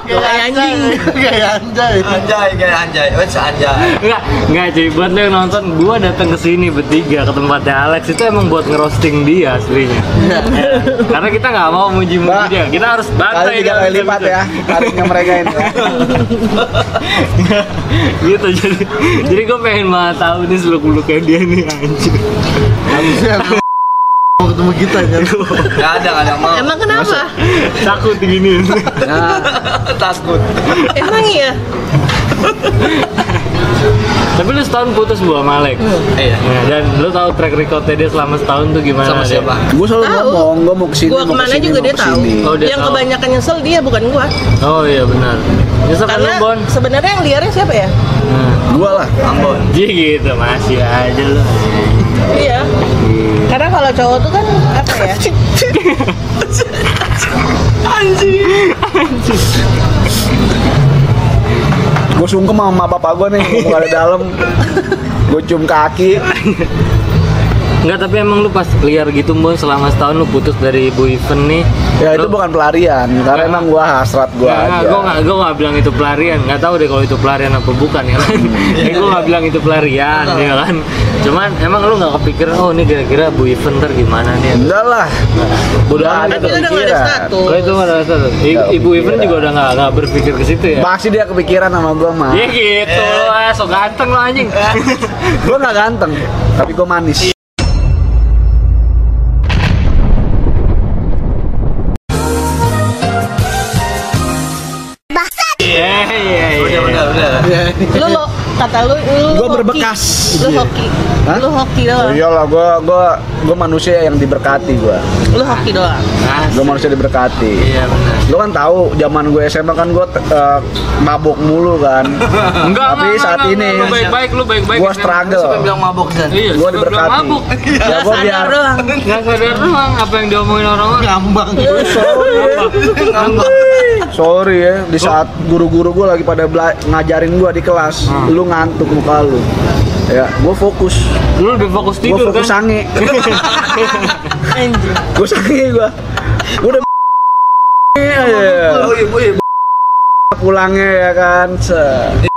[SPEAKER 2] Kayak Iya, anjing.
[SPEAKER 3] kayak anjay
[SPEAKER 6] Anjay, kayak anjay. Wes anjay.
[SPEAKER 4] Enggak, enggak cuy. Buat lo yang nonton, gua datang ke sini bertiga ke tempatnya Alex itu emang buat ngerosting dia aslinya. Ya. [LAUGHS] Karena kita nggak mau muji-muji
[SPEAKER 5] Ba-
[SPEAKER 4] dia. Kita harus
[SPEAKER 5] Kali
[SPEAKER 4] bantai
[SPEAKER 5] tiga
[SPEAKER 2] kan?
[SPEAKER 4] kalau
[SPEAKER 5] kali
[SPEAKER 4] bisa-bisa.
[SPEAKER 5] lipat ya Tarifnya mereka ini ya.
[SPEAKER 4] gitu jadi jadi gue pengen banget tahu nih seluk beluknya dia nih anjir
[SPEAKER 3] harusnya mau ketemu kita kan
[SPEAKER 6] Gak ada, gak ada mau.
[SPEAKER 2] Emang kenapa?
[SPEAKER 4] takut gini
[SPEAKER 5] Nah
[SPEAKER 6] Takut.
[SPEAKER 2] Emang iya.
[SPEAKER 4] tapi lu setahun putus bu sama Alek
[SPEAKER 6] Iya.
[SPEAKER 4] Nah, dan lu tahu track recordnya dia selama setahun tuh gimana
[SPEAKER 6] Sama
[SPEAKER 3] Nah,
[SPEAKER 4] dia?
[SPEAKER 6] siapa?
[SPEAKER 3] iya.
[SPEAKER 5] Gue selalu
[SPEAKER 2] Tahu.
[SPEAKER 5] ngomong Gue mau kesini
[SPEAKER 2] Gua
[SPEAKER 5] mau
[SPEAKER 2] kemana
[SPEAKER 5] kesini,
[SPEAKER 2] juga
[SPEAKER 5] mau
[SPEAKER 2] dia tahu.
[SPEAKER 5] kesini.
[SPEAKER 4] Oh, dia
[SPEAKER 2] yang
[SPEAKER 4] tahu.
[SPEAKER 2] kebanyakan nyesel dia bukan gua.
[SPEAKER 4] oh iya benar nyesel kan lu
[SPEAKER 2] Karena
[SPEAKER 4] Bon
[SPEAKER 2] sebenarnya yang liarnya siapa ya?
[SPEAKER 4] nah,
[SPEAKER 5] Gue lah
[SPEAKER 6] Ambon.
[SPEAKER 4] jadi gitu masih aja lu
[SPEAKER 2] Iya. Karena kalau cowok tuh kan apa ya?
[SPEAKER 5] gue sungkem sama emak bapak gue nih ngomong ada dalam gue cium kaki
[SPEAKER 4] Enggak, tapi emang lu pas liar gitu Bon selama setahun lu putus dari Bu Even nih
[SPEAKER 5] ya
[SPEAKER 4] Lu-
[SPEAKER 5] itu bukan pelarian karena emang gue hasrat gue
[SPEAKER 4] Nah,
[SPEAKER 5] aja
[SPEAKER 4] gue gak, gue gak bilang itu pelarian, gak tahu deh kalau itu pelarian apa bukan ya kan.
[SPEAKER 5] Hmm.
[SPEAKER 4] ya, [LAUGHS] gue gak bilang itu pelarian ya kan. Cuman emang lu gak kepikiran, oh ini kira-kira Bu Ivan ntar gimana nih.
[SPEAKER 5] enggak lah
[SPEAKER 4] Udah
[SPEAKER 5] Nggak
[SPEAKER 4] ada
[SPEAKER 2] Tapi Kan udah nggak ada
[SPEAKER 5] kepikiran.
[SPEAKER 2] status.
[SPEAKER 4] Gue itu gak ada satu.
[SPEAKER 5] Ya,
[SPEAKER 4] I- Ibu Ivan juga udah gak, gak berpikir ke situ ya.
[SPEAKER 5] pasti dia kepikiran sama gue mah
[SPEAKER 4] Ya gitu, lu ah, so ganteng lu anjing. [LAUGHS]
[SPEAKER 5] gue gak ganteng tapi gue manis
[SPEAKER 4] Iya, iya,
[SPEAKER 6] Udah,
[SPEAKER 4] iya.
[SPEAKER 6] udah, udah.
[SPEAKER 2] Lu lo kata lu lu
[SPEAKER 5] Gua
[SPEAKER 2] hoki.
[SPEAKER 5] berbekas.
[SPEAKER 2] Lu hoki.
[SPEAKER 5] Hah?
[SPEAKER 2] Lu hoki doang.
[SPEAKER 5] oh, iyalah gue gue gue manusia yang diberkati gue
[SPEAKER 2] Lu hoki doang.
[SPEAKER 4] Nah,
[SPEAKER 5] gue manusia diberkati
[SPEAKER 4] iya benar.
[SPEAKER 5] lo kan tahu zaman gue SMA kan gue mabuk mulu kan
[SPEAKER 4] [LAUGHS] Enggak,
[SPEAKER 5] tapi
[SPEAKER 4] enggak,
[SPEAKER 5] saat
[SPEAKER 4] enggak,
[SPEAKER 5] ini
[SPEAKER 4] enggak, lu baik-baik, lu baik-baik.
[SPEAKER 5] gue
[SPEAKER 6] Sampai
[SPEAKER 5] struggle
[SPEAKER 6] bilang mabok Zan.
[SPEAKER 4] Iya,
[SPEAKER 5] gue
[SPEAKER 4] sampai bilang
[SPEAKER 5] diberkati
[SPEAKER 4] mabuk. [LAUGHS]
[SPEAKER 5] ya gue
[SPEAKER 2] Sadar
[SPEAKER 5] biar
[SPEAKER 2] doang.
[SPEAKER 4] Gak sadar doang apa yang diomongin orang-orang.
[SPEAKER 6] Ngambang. Ngambang.
[SPEAKER 5] Sorry ya, di saat guru-guru gue lagi pada bela- ngajarin gue di kelas,
[SPEAKER 4] Hmm.
[SPEAKER 5] lu ngantuk muka lu. Ya, gue fokus,
[SPEAKER 4] Lu lebih fokus
[SPEAKER 5] gue
[SPEAKER 4] tidur
[SPEAKER 5] fokus
[SPEAKER 4] kan.
[SPEAKER 5] sange,
[SPEAKER 2] Anjir.
[SPEAKER 5] gue sange gue. Udah
[SPEAKER 6] Oh, iya,
[SPEAKER 5] aja.
[SPEAKER 6] iya.
[SPEAKER 3] Oh,
[SPEAKER 5] pulangnya ya kan, se-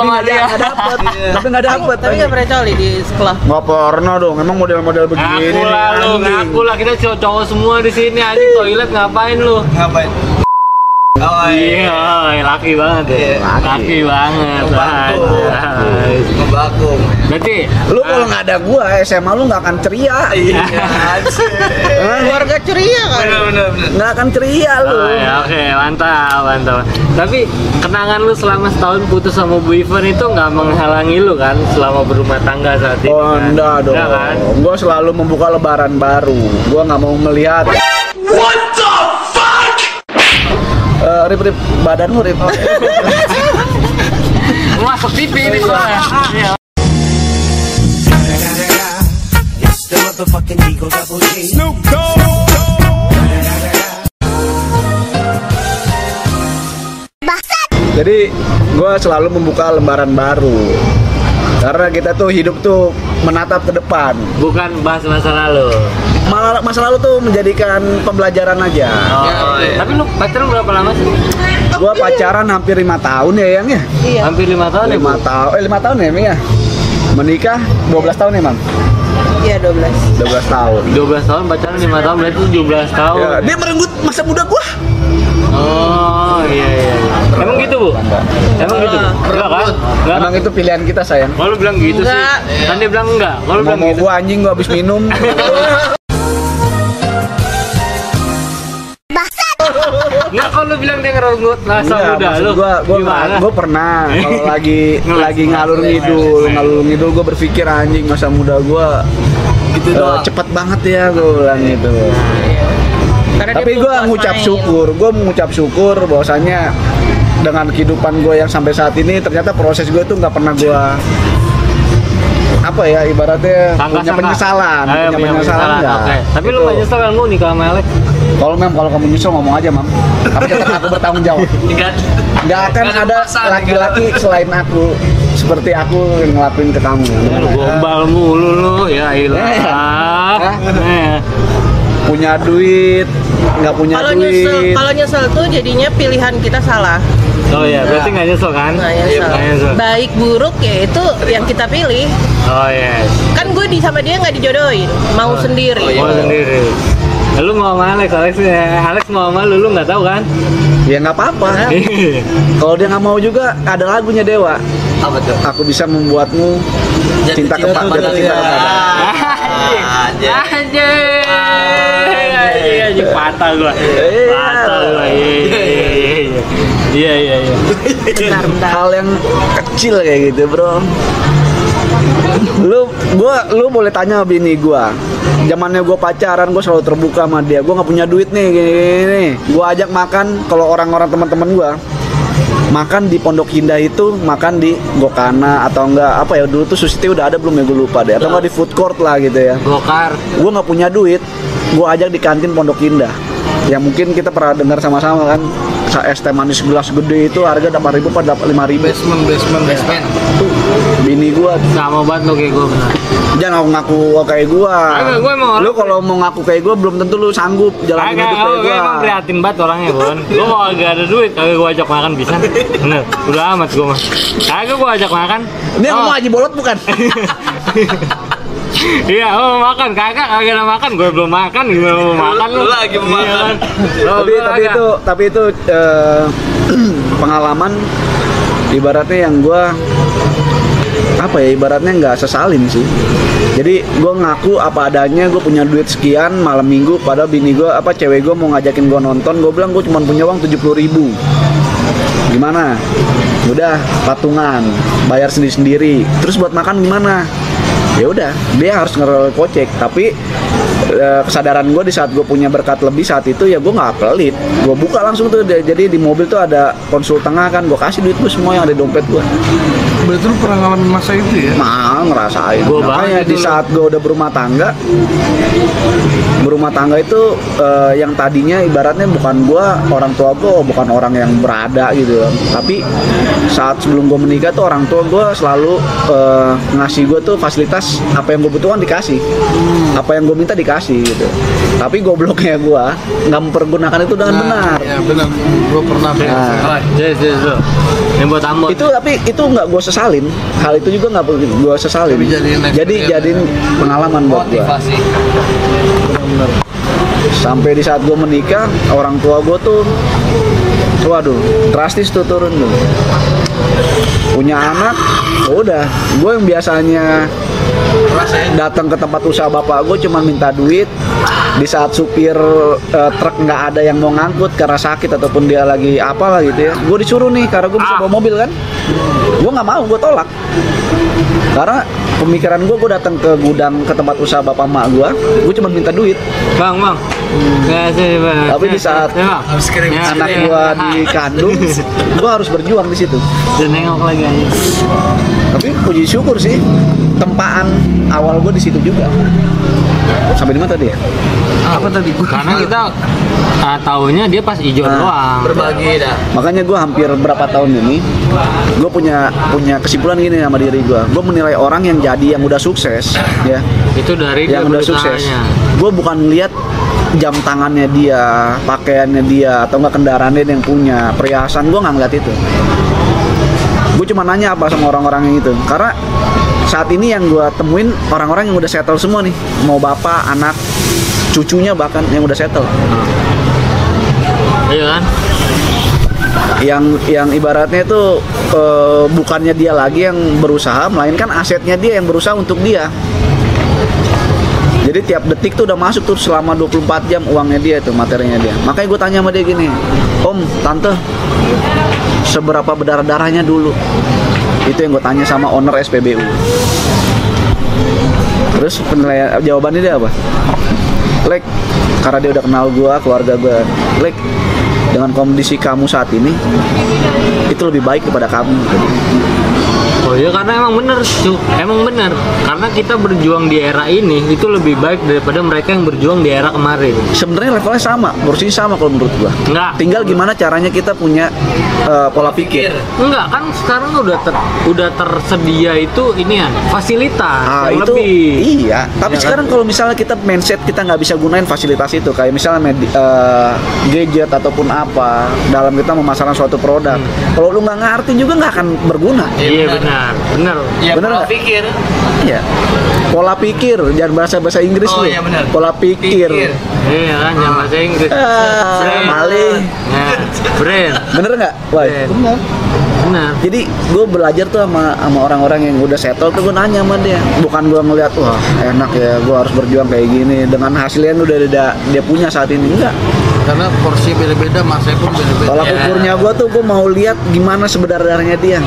[SPEAKER 4] Nggak ada ya.
[SPEAKER 5] nggak dapet, tapi nggak dapet.
[SPEAKER 2] Tapi nggak pernah coli di sekolah.
[SPEAKER 5] Nggak pernah dong, emang model-model begini.
[SPEAKER 4] Ngaku lah lu,
[SPEAKER 5] anjing.
[SPEAKER 4] ngaku lah kita cowok, cowok semua di sini anjing toilet ngapain lu?
[SPEAKER 6] Ngapain? Oh, iya.
[SPEAKER 4] Iya, oi, laki banget ya.
[SPEAKER 6] Iya.
[SPEAKER 4] Laki, banget.
[SPEAKER 6] Ngebantu.
[SPEAKER 4] anjay.
[SPEAKER 6] Ngebakum.
[SPEAKER 4] Berarti ah,
[SPEAKER 5] Lu kalau nggak ada gue, SMA lu nggak akan ceria.
[SPEAKER 6] Iya, anjir.
[SPEAKER 2] Keluarga ceria kan.
[SPEAKER 6] Bener, bener, bener.
[SPEAKER 5] Nggak akan ceria lu.
[SPEAKER 4] Oh, ya, oke, mantap, mantap. Tapi kenangan lu selama setahun putus sama Bu Ivan itu nggak menghalangi lu kan selama berumah tangga saat ini?
[SPEAKER 5] Oh,
[SPEAKER 4] kan?
[SPEAKER 5] enggak dong.
[SPEAKER 4] Enggak kan?
[SPEAKER 5] Gue selalu membuka lebaran baru. Gue nggak mau melihat. What the fuck? Eh, rip, rip, badan lu
[SPEAKER 4] Oh,
[SPEAKER 5] rip.
[SPEAKER 4] iya. Masuk TV ini soalnya. Iya.
[SPEAKER 5] [LAUGHS] Jadi gue selalu membuka lembaran baru. Karena kita tuh hidup tuh menatap ke depan.
[SPEAKER 4] Bukan bahas masa lalu.
[SPEAKER 5] Malah masa lalu tuh menjadikan pembelajaran aja.
[SPEAKER 4] Oh,
[SPEAKER 6] iya.
[SPEAKER 4] Tapi lu pacaran berapa lama sih?
[SPEAKER 5] Gua pacaran hampir lima tahun ya yang ya.
[SPEAKER 4] Hampir lima tahun ya, Bu?
[SPEAKER 5] Lima tahun, eh lima tahun ya Ming ya. Menikah 12 tahun ya Mam?
[SPEAKER 2] Iya 12
[SPEAKER 5] 12 tahun.
[SPEAKER 4] 12 tahun pacaran 5 tahun berarti 17 tahun.
[SPEAKER 5] Ya, dia merenggut masa muda gua.
[SPEAKER 4] Oh, iya iya. iya. Emang gitu, Bu? Emang gitu?
[SPEAKER 5] Iya.
[SPEAKER 4] Enggak kan? Enggak.
[SPEAKER 5] Emang itu pilihan kita sayang.
[SPEAKER 4] Kalau lu bilang gitu
[SPEAKER 2] Enggak.
[SPEAKER 4] sih. Kan dia bilang enggak. Kalau
[SPEAKER 5] Mau
[SPEAKER 4] lu bilang
[SPEAKER 5] mau
[SPEAKER 4] gitu.
[SPEAKER 5] gua anjing gua habis [LAUGHS] minum.
[SPEAKER 4] Enggak kalau lu bilang dia ngerenggut masa
[SPEAKER 5] Enggak,
[SPEAKER 4] muda
[SPEAKER 5] Iya, maksud
[SPEAKER 4] lu.
[SPEAKER 5] gua gua
[SPEAKER 4] gimana?
[SPEAKER 5] gua pernah [LAUGHS] kalau lagi
[SPEAKER 4] Ngeles,
[SPEAKER 5] lagi
[SPEAKER 4] ngeles,
[SPEAKER 5] ngalur
[SPEAKER 4] ngeles,
[SPEAKER 5] ngidul,
[SPEAKER 4] ngeles.
[SPEAKER 5] ngalur ngidul gua berpikir anjing masa muda gua
[SPEAKER 6] Gitu
[SPEAKER 5] eh,
[SPEAKER 6] doang.
[SPEAKER 5] cepet banget ya gua bilang gitu.
[SPEAKER 2] Karena Kan dia
[SPEAKER 5] Tapi
[SPEAKER 2] belum
[SPEAKER 5] gua
[SPEAKER 2] puas
[SPEAKER 5] ngucap
[SPEAKER 2] main.
[SPEAKER 5] syukur, gua mengucap syukur bahwasanya dengan kehidupan gue yang sampai saat ini ternyata proses gue tuh nggak pernah gua apa ya ibaratnya
[SPEAKER 4] Sangka-sangka.
[SPEAKER 5] punya penyesalan,
[SPEAKER 4] Eh,
[SPEAKER 5] punya, penyesalan, nggak.
[SPEAKER 4] Oke. Tapi lu
[SPEAKER 5] Gitu.
[SPEAKER 4] menyesal kan lu nikah sama Alex?
[SPEAKER 5] Kalau mem, kalau kamu nyusul ngomong aja mam. Tapi tetap aku bertanggung jawab.
[SPEAKER 6] Enggak.
[SPEAKER 5] Nggak akan
[SPEAKER 6] Nggak ada
[SPEAKER 5] ada
[SPEAKER 6] paksaan,
[SPEAKER 5] laki-laki selain aku seperti aku yang ngelakuin ke kamu.
[SPEAKER 4] Lu gombal mulu lu ya
[SPEAKER 5] Eh.
[SPEAKER 4] ilah.
[SPEAKER 5] Hah?
[SPEAKER 4] Eh.
[SPEAKER 5] Punya duit, nggak punya
[SPEAKER 2] Kalau
[SPEAKER 5] duit.
[SPEAKER 2] nyesel, kalau nyesel tuh jadinya pilihan kita salah.
[SPEAKER 4] Oh iya, berarti nggak nyesel kan?
[SPEAKER 2] Nggak
[SPEAKER 4] Iya,
[SPEAKER 2] nyesel.
[SPEAKER 4] nggak nyesel.
[SPEAKER 2] Baik buruk ya itu yang kita pilih.
[SPEAKER 4] Oh iya.
[SPEAKER 2] Kan gue di sama dia nggak dijodohin, mau sendiri.
[SPEAKER 6] Oh, iya.
[SPEAKER 4] Gua sendiri. Lu mau sama Alex, Alex, eh, Alex mau sama lu, lu nggak tahu kan? Iya.
[SPEAKER 5] Ya nggak apa-apa. Kalau dia nggak mau juga ada lagunya Dewa.
[SPEAKER 6] Apa tuh?
[SPEAKER 5] Aku bisa membuatmu cinta kepada
[SPEAKER 6] kepada
[SPEAKER 5] cinta
[SPEAKER 3] ya.
[SPEAKER 5] kepada.
[SPEAKER 3] Ah,
[SPEAKER 6] Aja.
[SPEAKER 4] Anjing, anjing, anjing, Iya, patah gua,
[SPEAKER 5] Iya.
[SPEAKER 4] patah gua, iya, iya, iya, iya. iya, iya, iya,
[SPEAKER 2] Bentar, bentar.
[SPEAKER 5] Hal yang kecil kayak gitu bro. Lu, gua, lu boleh tanya sama bini gua. Zamannya gua pacaran, gua selalu terbuka sama dia. Gua nggak punya duit nih, gini, gini, gini. Gua ajak makan. Kalau orang-orang teman-teman gua makan di Pondok Indah itu makan di Gokana atau enggak apa ya dulu tuh Sushi Tea udah ada belum ya gue lupa deh atau enggak di food court lah gitu ya
[SPEAKER 4] Gokar.
[SPEAKER 5] gue nggak punya duit gue ajak di kantin Pondok Indah yang mungkin kita pernah dengar sama-sama kan sa- es teh manis gelas gede itu harga dapat ribu pada dapat lima ribu
[SPEAKER 3] basement basement
[SPEAKER 6] Basement.
[SPEAKER 5] bini gue
[SPEAKER 4] Nggak mau banget lu kayak gua bener.
[SPEAKER 5] jangan mau ngaku kayak gue
[SPEAKER 4] Kagak, gua emang orang-
[SPEAKER 5] lu kalau mau ngaku kayak gue belum tentu lu sanggup jalan
[SPEAKER 4] Kagak,
[SPEAKER 5] hidup
[SPEAKER 4] gua
[SPEAKER 5] kayak
[SPEAKER 4] emang
[SPEAKER 5] gue
[SPEAKER 4] prihatin banget orangnya, Bon. Gua mau agak ada duit, kagak gua ajak makan bisa. Bener, udah amat gua mah. Kagak gua ajak makan.
[SPEAKER 5] ini yang
[SPEAKER 4] Oh.
[SPEAKER 5] ngomong Haji Bolot bukan
[SPEAKER 4] Iya, oh makan kakak kagak ada makan, gue belum makan gimana mau makan lu?
[SPEAKER 6] Lu lagi mau
[SPEAKER 4] Iya,
[SPEAKER 6] makan.
[SPEAKER 4] kan? Oh,
[SPEAKER 5] tapi
[SPEAKER 4] gua
[SPEAKER 5] tapi
[SPEAKER 4] kagak.
[SPEAKER 5] itu tapi itu eh, [CLEARS THROAT] pengalaman ibaratnya yang gua apa ya ibaratnya nggak sesalin sih jadi gue ngaku apa adanya gue punya duit sekian malam minggu padahal bini gue apa cewek gue mau ngajakin gue nonton gue bilang gue cuma punya uang tujuh ribu gimana udah patungan bayar sendiri sendiri terus buat makan gimana ya udah dia harus ngerel kocek tapi eh, kesadaran gue di saat gue punya berkat lebih saat itu ya gue nggak pelit gue buka langsung tuh jadi di mobil tuh ada konsul tengah kan gue kasih duit gue semua yang ada di dompet gue
[SPEAKER 3] berarti lu pernah ngalamin masa itu ya
[SPEAKER 5] Nah, ngerasain.
[SPEAKER 4] Gua
[SPEAKER 5] Makanya
[SPEAKER 4] banget
[SPEAKER 5] di
[SPEAKER 4] itu.
[SPEAKER 5] saat gue udah berumah tangga, berumah tangga itu eh, yang tadinya ibaratnya bukan gua orang tua gue bukan orang yang berada gitu loh. tapi saat sebelum gue menikah tuh orang tua gue selalu eh, ngasih gue tuh fasilitas apa yang gue butuhkan dikasih apa yang gue minta dikasih gitu tapi gobloknya gue nggak mempergunakan itu dengan benar
[SPEAKER 3] ya benar gue pernah
[SPEAKER 5] Nah.
[SPEAKER 4] Alright, Yes, yes, bro. Yang buat ambon.
[SPEAKER 5] itu tapi itu nggak gue sesalin hal itu juga nggak gue sesalin
[SPEAKER 3] Tapi jadiin
[SPEAKER 5] jadi
[SPEAKER 3] experience.
[SPEAKER 5] jadiin pengalaman buat gue
[SPEAKER 6] Motivasi.
[SPEAKER 5] sampai di saat gue menikah orang tua gue tuh waduh drastis tuh turun tuh punya anak ya udah gue yang biasanya datang ke tempat usaha bapak gue cuma minta duit di saat supir eh, truk nggak ada yang mau ngangkut karena sakit ataupun dia lagi apalah gitu ya gue disuruh nih karena gue bisa bawa mobil kan gue nggak mau gue tolak karena pemikiran gue gue datang ke gudang ke tempat usaha bapak mak gue gue cuma minta duit
[SPEAKER 4] Bang, bang. Yes, yes, bang.
[SPEAKER 5] Hmm. Tapi di saat- Iya.
[SPEAKER 4] Ya, bang.
[SPEAKER 6] Habis kirim
[SPEAKER 4] Ya,
[SPEAKER 5] anak
[SPEAKER 4] ya.
[SPEAKER 5] gua dikandung gua harus berjuang di situ
[SPEAKER 4] Dan nengok lagi aja.
[SPEAKER 5] tapi puji syukur sih tempaan awal gua di situ juga Sampai di mana tadi ya?
[SPEAKER 3] Apa tadi? Gua-
[SPEAKER 4] Karena kita ah, taunya dia pas ijo
[SPEAKER 5] Nah.
[SPEAKER 4] doang.
[SPEAKER 6] Berbagi dah.
[SPEAKER 5] Makanya gue hampir berapa tahun ini gue punya punya kesimpulan gini sama diri gue. Gue menilai orang yang jadi yang udah sukses, ya,
[SPEAKER 4] Itu dari dia
[SPEAKER 5] yang udah sukses.
[SPEAKER 4] beritanya.
[SPEAKER 5] Gue bukan lihat jam tangannya dia, pakaiannya dia, atau enggak kendaraannya dia yang punya, perhiasan gue nggak ngeliat itu. Gue cuma nanya apa sama orang-orang yang itu, karena saat ini yang gue temuin orang-orang yang udah settle semua nih, mau bapak, anak, cucunya bahkan yang udah settle.
[SPEAKER 4] Iya kan?
[SPEAKER 5] yang yang ibaratnya itu eh, bukannya dia lagi yang berusaha melainkan asetnya dia yang berusaha untuk dia jadi tiap detik tuh udah masuk tuh selama 24 jam uangnya dia tuh materinya dia makanya gue tanya sama dia gini om tante seberapa berdarah darahnya dulu itu yang gue tanya sama owner SPBU terus penilaian jawabannya dia apa Lek, karena dia udah kenal gua, keluarga gua. Lek, dengan kondisi kamu saat ini, itu lebih baik daripada kamu.
[SPEAKER 4] Oh iya karena emang bener Cuk. emang bener karena kita berjuang di era ini itu lebih baik daripada mereka yang berjuang di era kemarin.
[SPEAKER 5] Sebenarnya levelnya sama, porsinya sama kalau menurut gua.
[SPEAKER 4] Enggak.
[SPEAKER 5] Tinggal gimana caranya kita punya eh, pola pikir.
[SPEAKER 4] Enggak kan sekarang udah ter, udah tersedia itu ini kan fasilitas
[SPEAKER 5] Ah,
[SPEAKER 4] yang
[SPEAKER 5] itu
[SPEAKER 4] lebih.
[SPEAKER 5] iya. Tapi
[SPEAKER 4] Iya kan?
[SPEAKER 5] sekarang kalau misalnya kita mindset kita nggak bisa gunain fasilitas itu, kayak misalnya medi- eh, gadget ataupun apa dalam kita memasarkan suatu produk.
[SPEAKER 4] Hmm.
[SPEAKER 5] Kalau lu nggak ngerti juga nggak akan berguna.
[SPEAKER 4] Iya benar, benar.
[SPEAKER 6] Ya,
[SPEAKER 5] Bener
[SPEAKER 6] pola
[SPEAKER 5] nggak?
[SPEAKER 6] pikir.
[SPEAKER 5] Iya. Pola pikir, jangan bahasa bahasa Inggris
[SPEAKER 6] Oh,
[SPEAKER 5] lu.
[SPEAKER 6] iya benar.
[SPEAKER 5] Pola pikir.
[SPEAKER 6] Pikir.
[SPEAKER 4] Iya kan jangan bahasa Inggris.
[SPEAKER 5] Ah,
[SPEAKER 4] Friend.
[SPEAKER 5] maling.
[SPEAKER 4] Nah, friend.
[SPEAKER 5] Bener nggak? Wah.
[SPEAKER 4] Bener. Benar.
[SPEAKER 5] Jadi gue belajar tuh sama sama orang-orang yang udah settle tuh gue nanya sama dia. Bukan gue ngeliat wah enak ya gue harus berjuang kayak gini dengan hasilnya yang udah dia, dia punya saat ini enggak.
[SPEAKER 3] Karena porsi beda-beda, masanya pun beda-beda.
[SPEAKER 5] Tolak
[SPEAKER 4] Iya.
[SPEAKER 6] Ya.
[SPEAKER 5] ukurnya gue tuh gue mau lihat gimana sebenarnya dia.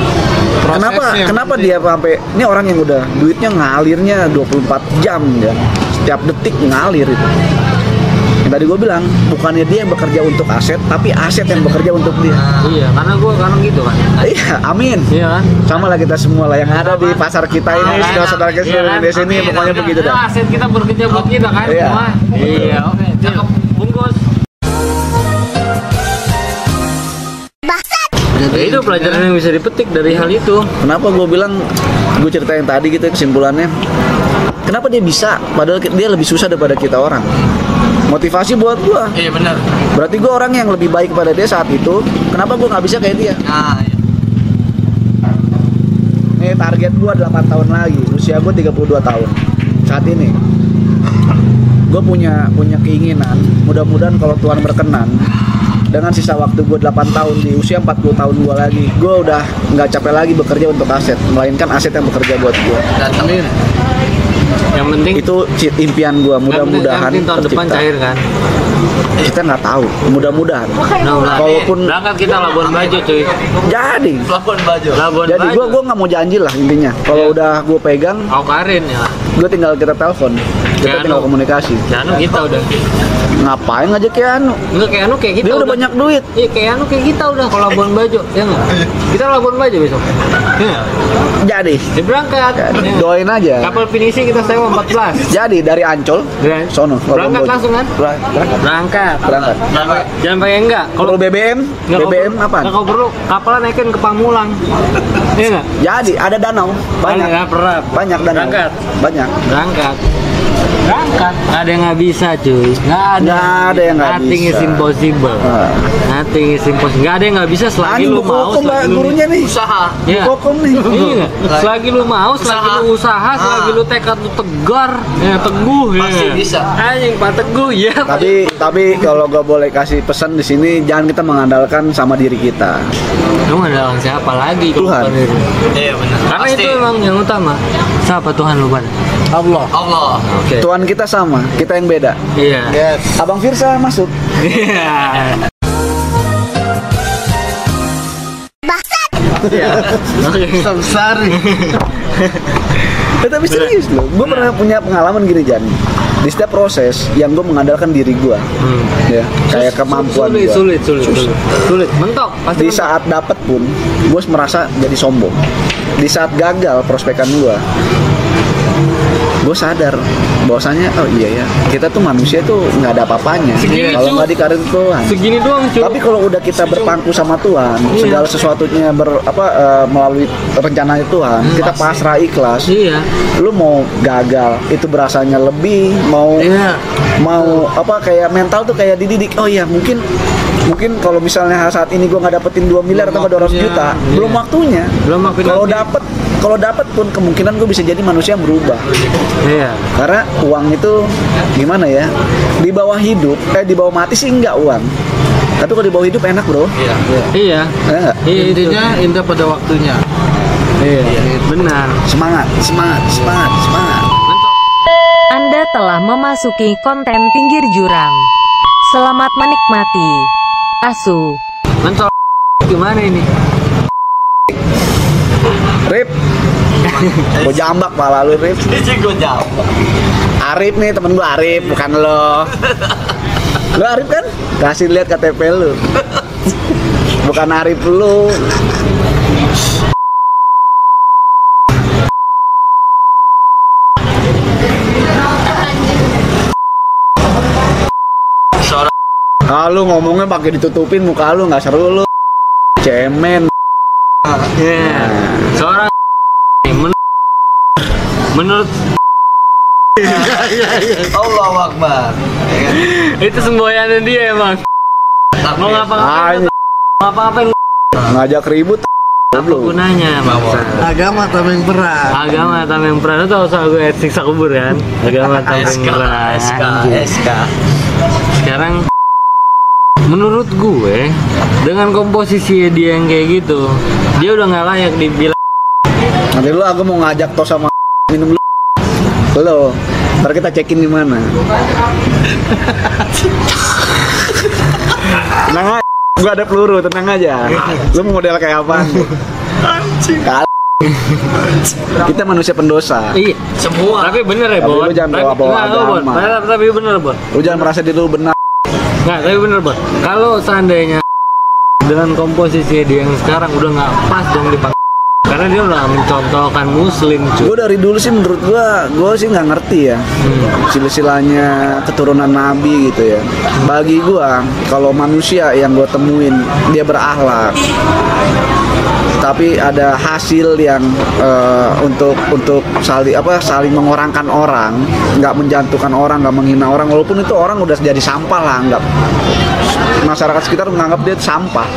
[SPEAKER 5] kenapa
[SPEAKER 3] yang
[SPEAKER 5] kenapa dia sampai ini orang yang udah duitnya ngalirnya 24 jam ya. Setiap detik ngalir itu. Yang tadi gue bilang bukannya dia yang bekerja untuk aset tapi aset yang bekerja untuk dia.
[SPEAKER 4] Iya, karena gua sekarang gitu kan.
[SPEAKER 5] Iya, amin.
[SPEAKER 4] Iya kan?
[SPEAKER 5] Sama lah kita semua lah yang ada di pasar kita ini, saudara-saudara kita
[SPEAKER 4] Iya
[SPEAKER 5] seluruh
[SPEAKER 4] kan?
[SPEAKER 5] Indonesia ini,
[SPEAKER 4] Amin,
[SPEAKER 5] pokoknya
[SPEAKER 4] amin.
[SPEAKER 5] begitu dah.
[SPEAKER 4] Aset kita bekerja buat kita kan
[SPEAKER 5] Iya.
[SPEAKER 4] semua. Iya, oke. Cakep. Bungkus. Ya, itu pelajaran yang bisa dipetik dari hal itu.
[SPEAKER 5] Kenapa gue bilang gue cerita yang tadi gitu kesimpulannya? Kenapa dia bisa? Padahal ki- dia lebih susah daripada kita orang. Motivasi buat gua.
[SPEAKER 6] Iya benar.
[SPEAKER 5] Berarti gua orang yang lebih baik pada dia saat itu. Kenapa gua nggak bisa kayak dia?
[SPEAKER 6] Nah, iya.
[SPEAKER 5] Nih target gua 8 tahun lagi. Usia gua 32 tahun. Saat ini gue punya punya keinginan mudah-mudahan kalau Tuhan berkenan dengan sisa waktu gue 8 tahun di usia 40 tahun gue lagi gue udah nggak capek lagi bekerja untuk aset melainkan aset yang bekerja buat gue
[SPEAKER 6] datangin.
[SPEAKER 4] Yang penting
[SPEAKER 5] itu ci- impian gue
[SPEAKER 4] yang penting-
[SPEAKER 5] mudah-mudahan
[SPEAKER 4] yang penting tahun depan
[SPEAKER 5] tercipta
[SPEAKER 4] cair kan.
[SPEAKER 5] kita nggak tahu mudah-mudahan
[SPEAKER 4] Nah, berarti
[SPEAKER 5] Walaupun-
[SPEAKER 4] berangkat kita Labuan Bajo cuy.
[SPEAKER 5] jadi
[SPEAKER 6] Pelakon baju.
[SPEAKER 4] Labuan
[SPEAKER 5] jadi
[SPEAKER 4] Bajo.
[SPEAKER 5] gue gue nggak mau janji lah intinya kalau
[SPEAKER 4] Iya.
[SPEAKER 5] udah gue pegang
[SPEAKER 4] Aku Karin ya.
[SPEAKER 5] gue tinggal kita telepon kita
[SPEAKER 4] Kayak
[SPEAKER 5] tinggal
[SPEAKER 4] anu.
[SPEAKER 5] komunikasi
[SPEAKER 4] Dan kita udah.
[SPEAKER 5] ngapain aja Keanu
[SPEAKER 4] Enggak kayak anu kayak kita.
[SPEAKER 5] dia udah banyak duit
[SPEAKER 4] Iya kayak anu kayak kita udah kalau Labuan Bajo ya enggak. Kita Labuan Bajo besok. Iya.
[SPEAKER 5] jadi
[SPEAKER 4] Ya berangkat. Ya.
[SPEAKER 5] doain aja
[SPEAKER 4] Kapal finishing kita sewa 14.
[SPEAKER 5] Jadi dari Ancol,
[SPEAKER 4] Dari-
[SPEAKER 5] sono.
[SPEAKER 4] Berangkat
[SPEAKER 5] Labuan Bajo.
[SPEAKER 4] langsung kan?
[SPEAKER 5] Ber- Berangkat.
[SPEAKER 4] Berangkat.
[SPEAKER 5] Berangkat.
[SPEAKER 4] Jangan pakai enggak.
[SPEAKER 5] Kalau BBM,
[SPEAKER 4] enggak kau
[SPEAKER 5] BBM
[SPEAKER 4] perlu-
[SPEAKER 5] apa?
[SPEAKER 4] Enggak kau perlu kapalnya naikin ke Pamulang. Iya enggak?
[SPEAKER 5] Jadi ada danau, banyak,
[SPEAKER 4] Ada perap.
[SPEAKER 5] banyak danau,
[SPEAKER 4] ya. Berangkat.
[SPEAKER 5] banyak.
[SPEAKER 4] Berangkat. Berangkat. Nggak ada yang nggak bisa cuy. Nggak ada.
[SPEAKER 5] Nggak ada yang nggak
[SPEAKER 4] Nothing
[SPEAKER 5] bisa.
[SPEAKER 4] is impossible.
[SPEAKER 5] Ah.
[SPEAKER 4] Nothing is impossible. Nggak ada yang nggak bisa selagi
[SPEAKER 5] Ani
[SPEAKER 4] lu
[SPEAKER 5] Bu
[SPEAKER 4] mau.
[SPEAKER 5] Kokom
[SPEAKER 4] selagi
[SPEAKER 5] Mbak,
[SPEAKER 4] lu-
[SPEAKER 5] gurunya nih.
[SPEAKER 6] Usaha.
[SPEAKER 4] Iya.
[SPEAKER 5] Kokom nih.
[SPEAKER 4] [LAUGHS] Iya nggak? Selagi lu mau, selagi
[SPEAKER 6] Usaha.
[SPEAKER 4] lu usaha, selagi
[SPEAKER 6] Ah.
[SPEAKER 4] lu tekad lu tegar, ya teguh ya.
[SPEAKER 6] Pasti
[SPEAKER 4] nggak?
[SPEAKER 6] bisa.
[SPEAKER 4] Anjing Pak Teguh ya.
[SPEAKER 5] Tapi tapi kalau gue boleh kasih pesan di sini, jangan kita mengandalkan sama diri kita.
[SPEAKER 4] Lu ngandalkan siapa lagi kalau
[SPEAKER 5] Tuhan.
[SPEAKER 4] bukan diri?
[SPEAKER 6] Iya benar.
[SPEAKER 4] Karena
[SPEAKER 6] Pasti.
[SPEAKER 4] itu emang yang utama. Siapa Tuhan lu, Ban?
[SPEAKER 3] Allah.
[SPEAKER 6] Allah.
[SPEAKER 4] Oke.
[SPEAKER 5] Tuhan kita sama, kita yang beda.
[SPEAKER 4] Iya.
[SPEAKER 3] Yes.
[SPEAKER 5] Abang Firsa masuk.
[SPEAKER 4] Iya. Oke.
[SPEAKER 3] Samsari.
[SPEAKER 5] Eh, tapi
[SPEAKER 4] Iya.
[SPEAKER 5] serius loh, gue pernah punya pengalaman gini Jan. Di setiap proses yang gue mengandalkan diri gue,
[SPEAKER 4] Hmm.
[SPEAKER 5] ya kayak kemampuan
[SPEAKER 4] sulit,
[SPEAKER 5] gue.
[SPEAKER 4] sulit, sulit, sulit, sulit. Mentok,
[SPEAKER 5] di
[SPEAKER 4] pasti mentok.
[SPEAKER 5] saat dapat pun gue merasa jadi sombong di saat gagal prospekan gue gue sadar bahwasanya oh iya ya kita tuh manusia tuh nggak ada apa-apanya
[SPEAKER 4] Segini,
[SPEAKER 5] kalau
[SPEAKER 4] Cu.
[SPEAKER 5] nggak dikarin Tuhan
[SPEAKER 4] Segini doang cuy.
[SPEAKER 5] tapi kalau udah kita berpangku sama Tuhan
[SPEAKER 4] Iya.
[SPEAKER 5] segala sesuatunya ber apa eh, melalui rencananya Tuhan kita pasrah ikhlas
[SPEAKER 4] Iya.
[SPEAKER 5] lu mau gagal itu berasanya lebih mau
[SPEAKER 4] Iya.
[SPEAKER 5] mau apa kayak mental tuh kayak dididik oh iya mungkin mungkin kalau misalnya saat ini gua nggak dapetin 2 miliar atau
[SPEAKER 4] Belum
[SPEAKER 5] nggak 200
[SPEAKER 4] waktunya,
[SPEAKER 5] juta
[SPEAKER 4] iya.
[SPEAKER 5] belum waktunya
[SPEAKER 4] Belum waktunya.
[SPEAKER 5] kalau dapet kalau dapet pun kemungkinan gue bisa jadi manusia yang berubah
[SPEAKER 4] Iya.
[SPEAKER 5] karena uang itu gimana ya di bawah hidup eh di bawah mati sih enggak uang tapi kalau di bawah hidup enak bro
[SPEAKER 6] Iya.
[SPEAKER 4] Iya.
[SPEAKER 5] Enak nggak?
[SPEAKER 4] Iya, itu.
[SPEAKER 6] Intinya indah pada waktunya.
[SPEAKER 4] Iya. Benar.
[SPEAKER 5] semangat semangat semangat semangat
[SPEAKER 1] Anda telah memasuki konten pinggir jurang. Selamat menikmati. Asu.
[SPEAKER 4] Mentol gimana ini?
[SPEAKER 5] Rip Gue jambak pala lu Rip
[SPEAKER 6] Ini gue jawab.
[SPEAKER 5] Arif nih temen gue Arif bukan lo Lo Arif kan? Kasih lihat KTP lu Bukan Arif lu
[SPEAKER 6] Seorang
[SPEAKER 5] Ah lu ngomongnya pakai ditutupin muka lu nggak seru lu Cemen
[SPEAKER 4] Iya. Seorang men menurut
[SPEAKER 6] Allah Akbar.
[SPEAKER 4] itu semboyannya dia emang.
[SPEAKER 6] Tapi
[SPEAKER 4] Mau ngapa-ngapain?
[SPEAKER 5] Anjing.
[SPEAKER 4] Mau Ngapa-ngapain?
[SPEAKER 5] Ngajak ribut
[SPEAKER 4] Apa gunanya, bangsa?
[SPEAKER 3] agama tameng berat
[SPEAKER 4] Agama tameng peran itu usah gue etik kubur kan?
[SPEAKER 5] [LAUGHS]
[SPEAKER 4] Agama tameng
[SPEAKER 6] SK,
[SPEAKER 4] peran.
[SPEAKER 6] SK, SK.
[SPEAKER 4] Sekarang menurut gue dengan komposisinya dia yang kayak gitu, dia udah nggak layak dibilang.
[SPEAKER 5] Nanti lu aku mau ngajak tos sama [LAUGHS] minum lu Lo Ntar kita cekin di mana [LAUGHS] Tenang aja Gue ada peluru tenang aja Lu mau model kayak apa Kal- Kita manusia pendosa
[SPEAKER 4] Iya.
[SPEAKER 6] Semua.
[SPEAKER 4] Tapi bener ya,
[SPEAKER 5] Tapi
[SPEAKER 4] Bon.
[SPEAKER 5] lu jangan
[SPEAKER 4] Tapi-
[SPEAKER 5] bawa-bawa
[SPEAKER 4] nggak, nggak, Bon.
[SPEAKER 5] agama.
[SPEAKER 4] Tapi- Tapi bener, Bon.
[SPEAKER 5] Lu jangan merasa diri lu benar
[SPEAKER 4] Nggak, tapi bener, Bon. Kalau seandainya dengan komposisi dia yang sekarang udah nggak pas dong dipakai. Karena dia udah mencontohkan muslim, cuy.
[SPEAKER 5] Gue dari dulu sih menurut gue Gue sih nggak ngerti ya Silsilahnya keturunan nabi gitu ya Bagi gue Kalau manusia yang gue temuin Dia berakhlak tapi ada hasil yang eh, untuk untuk saling apa saling mengorangkan orang nggak menjatuhkan orang nggak menghina orang walaupun itu orang udah jadi sampah lah anggap masyarakat sekitar menganggap dia sampah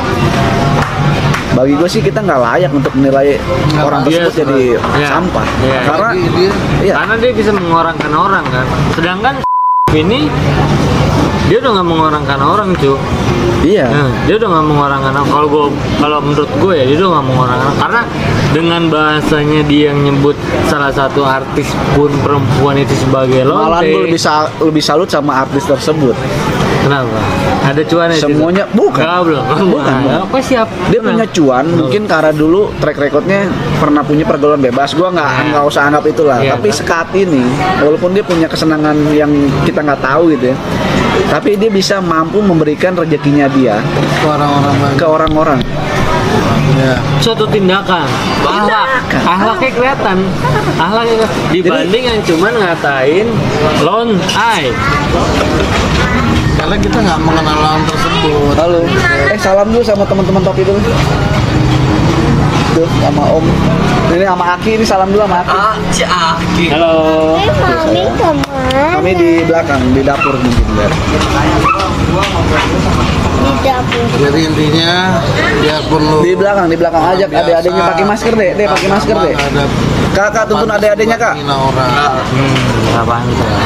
[SPEAKER 5] bagi gue sih kita nggak layak untuk menilai orang
[SPEAKER 4] Iya,
[SPEAKER 5] tersebut jadi
[SPEAKER 4] iya.
[SPEAKER 5] sampah
[SPEAKER 4] Iya.
[SPEAKER 5] karena
[SPEAKER 3] Jadi dia
[SPEAKER 5] iya
[SPEAKER 4] Karena dia bisa mengorangkan orang kan. Sedangkan [LAUGHS] ini dia udah nggak mengorangkan orang, cuy.
[SPEAKER 5] iya
[SPEAKER 4] Nah, dia udah nggak mengorangkan aku. kalau gue kalau menurut gue ya dia udah nggak mengorangkan aku. karena dengan bahasanya dia yang nyebut salah satu artis pun perempuan itu sebagai lonte
[SPEAKER 5] malah gue lebih sa- lebih salut sama artis tersebut
[SPEAKER 4] kenapa ada cuannya di situ?
[SPEAKER 5] Semuanya- bukan.
[SPEAKER 4] Nggak, Nah, belum Nah, ya.
[SPEAKER 5] Bukan, bukan.
[SPEAKER 4] apa siap
[SPEAKER 5] dia
[SPEAKER 4] Tenang.
[SPEAKER 5] punya cuan
[SPEAKER 4] Betul.
[SPEAKER 5] mungkin karena dulu track recordnya pernah punya pergaulan bebas gua nggak
[SPEAKER 4] Nah.
[SPEAKER 5] nggak usah anggap itulah
[SPEAKER 4] Iya,
[SPEAKER 5] tapi
[SPEAKER 4] kan?
[SPEAKER 5] sekat ini walaupun dia punya kesenangan yang kita nggak tahu gitu ya tapi dia bisa mampu memberikan rezekinya dia
[SPEAKER 3] ke orang-orang
[SPEAKER 5] ke
[SPEAKER 3] banyak
[SPEAKER 5] orang-orang
[SPEAKER 3] ya.
[SPEAKER 4] suatu tindakan ahlak ahlaknya kelihatan ahlaknya kelihatan. dibanding yang cuman ngatain lon ai
[SPEAKER 3] karena kita nggak mengenal orang tersebut
[SPEAKER 5] halo eh salam dulu sama teman-teman tok itu tuh sama om ini sama Aki ini salam dulu sama Aki
[SPEAKER 6] Ah, Aki.
[SPEAKER 4] halo
[SPEAKER 7] Mami kemana?
[SPEAKER 5] kami di belakang di dapur mungkin biar
[SPEAKER 7] Di dapur.
[SPEAKER 3] jadi intinya dia perlu
[SPEAKER 5] di belakang di belakang ajak
[SPEAKER 3] Oh. Biasa.
[SPEAKER 5] adik-adiknya pakai masker deh deh pakai masker deh
[SPEAKER 3] Nggak ada
[SPEAKER 5] kakak tuntun
[SPEAKER 3] pantas
[SPEAKER 5] adik-adiknya
[SPEAKER 3] buat
[SPEAKER 5] kak
[SPEAKER 3] ngehina orang
[SPEAKER 4] hmm, nggak pantas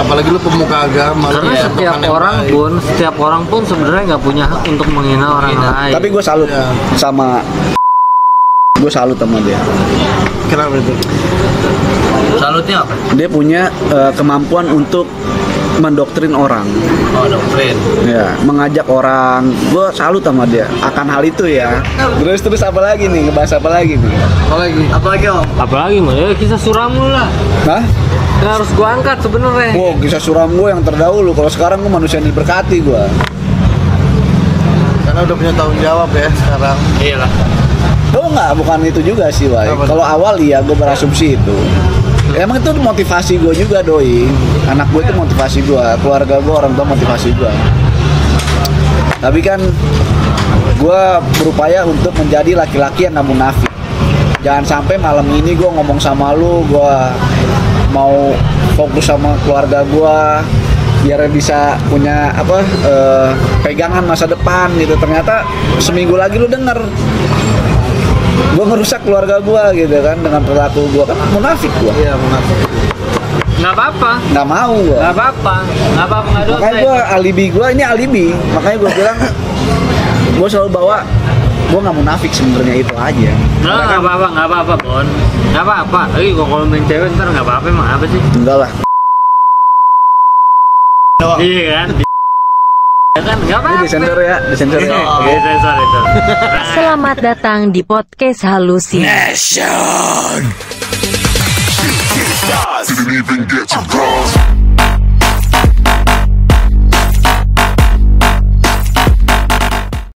[SPEAKER 3] apalagi lu pemuka agama lu
[SPEAKER 4] karena
[SPEAKER 3] punya
[SPEAKER 4] setiap
[SPEAKER 3] teman yang
[SPEAKER 4] orang
[SPEAKER 3] baik.
[SPEAKER 4] pun setiap orang pun sebenarnya nggak punya hak untuk menghina orang lain
[SPEAKER 5] tapi gue salut
[SPEAKER 3] Iya.
[SPEAKER 5] sama gue salut sama dia
[SPEAKER 3] kenapa itu
[SPEAKER 6] Salutnya apa?
[SPEAKER 5] dia punya eh, kemampuan untuk mendoktrin orang
[SPEAKER 6] Oh, doktrin.
[SPEAKER 5] ya mengajak orang gue salut sama dia akan hal itu ya terus terus apa lagi nih ngebahas apa lagi nih
[SPEAKER 3] apalagi
[SPEAKER 6] Apalagi om?
[SPEAKER 4] apalagi mah ya kisah suram lu lah
[SPEAKER 5] Hah?
[SPEAKER 4] yang harus gua angkat sebenarnya
[SPEAKER 5] Wow, kisah suram gue yang terdahulu. Kalau sekarang gue manusia yang diberkati gue.
[SPEAKER 3] karena udah punya tanggung jawab ya sekarang
[SPEAKER 6] Iya lah.
[SPEAKER 5] Oh nggak, bukan itu juga sih, Wai.
[SPEAKER 3] Apa?
[SPEAKER 5] Kalau awal iya, gue berasumsi itu. Emang itu motivasi gue juga doi. Anak gue itu motivasi gue, keluarga gue, orang tua motivasi gue. Tapi kan gue berupaya untuk menjadi laki-laki yang gak munafik. Jangan sampai malam ini gue ngomong sama lu, gue mau fokus sama keluarga gue biar bisa punya apa eh, pegangan masa depan gitu. Ternyata seminggu lagi lu denger gue ngerusak keluarga gue gitu kan dengan perilaku gue kan munafik gue
[SPEAKER 3] Iya munafik. Nah,
[SPEAKER 4] Nggak apa-apa.
[SPEAKER 5] nggak mau gue
[SPEAKER 4] Nggak apa-apa. Nggak apa-apa nggak dosa. ya.
[SPEAKER 5] makanya gue alibi gue ini alibi makanya gue bilang gue selalu bawa gue nggak munafik sebenarnya itu aja
[SPEAKER 4] Nah, nggak apa-apa, nggak apa-apa, Bon. Nggak apa-apa. Lagi kok kalau main cewek ntar nggak apa-apa emang apa sih?
[SPEAKER 5] enggak lah
[SPEAKER 4] Iya kan? Ya kan nggak
[SPEAKER 5] ini
[SPEAKER 4] apa-apa.
[SPEAKER 5] disensor ya disensor
[SPEAKER 3] Iya.
[SPEAKER 5] ya
[SPEAKER 4] Oke, sorry, sorry, sorry.
[SPEAKER 1] Selamat datang di podcast halusi.
[SPEAKER 8] Didn't even get to cross.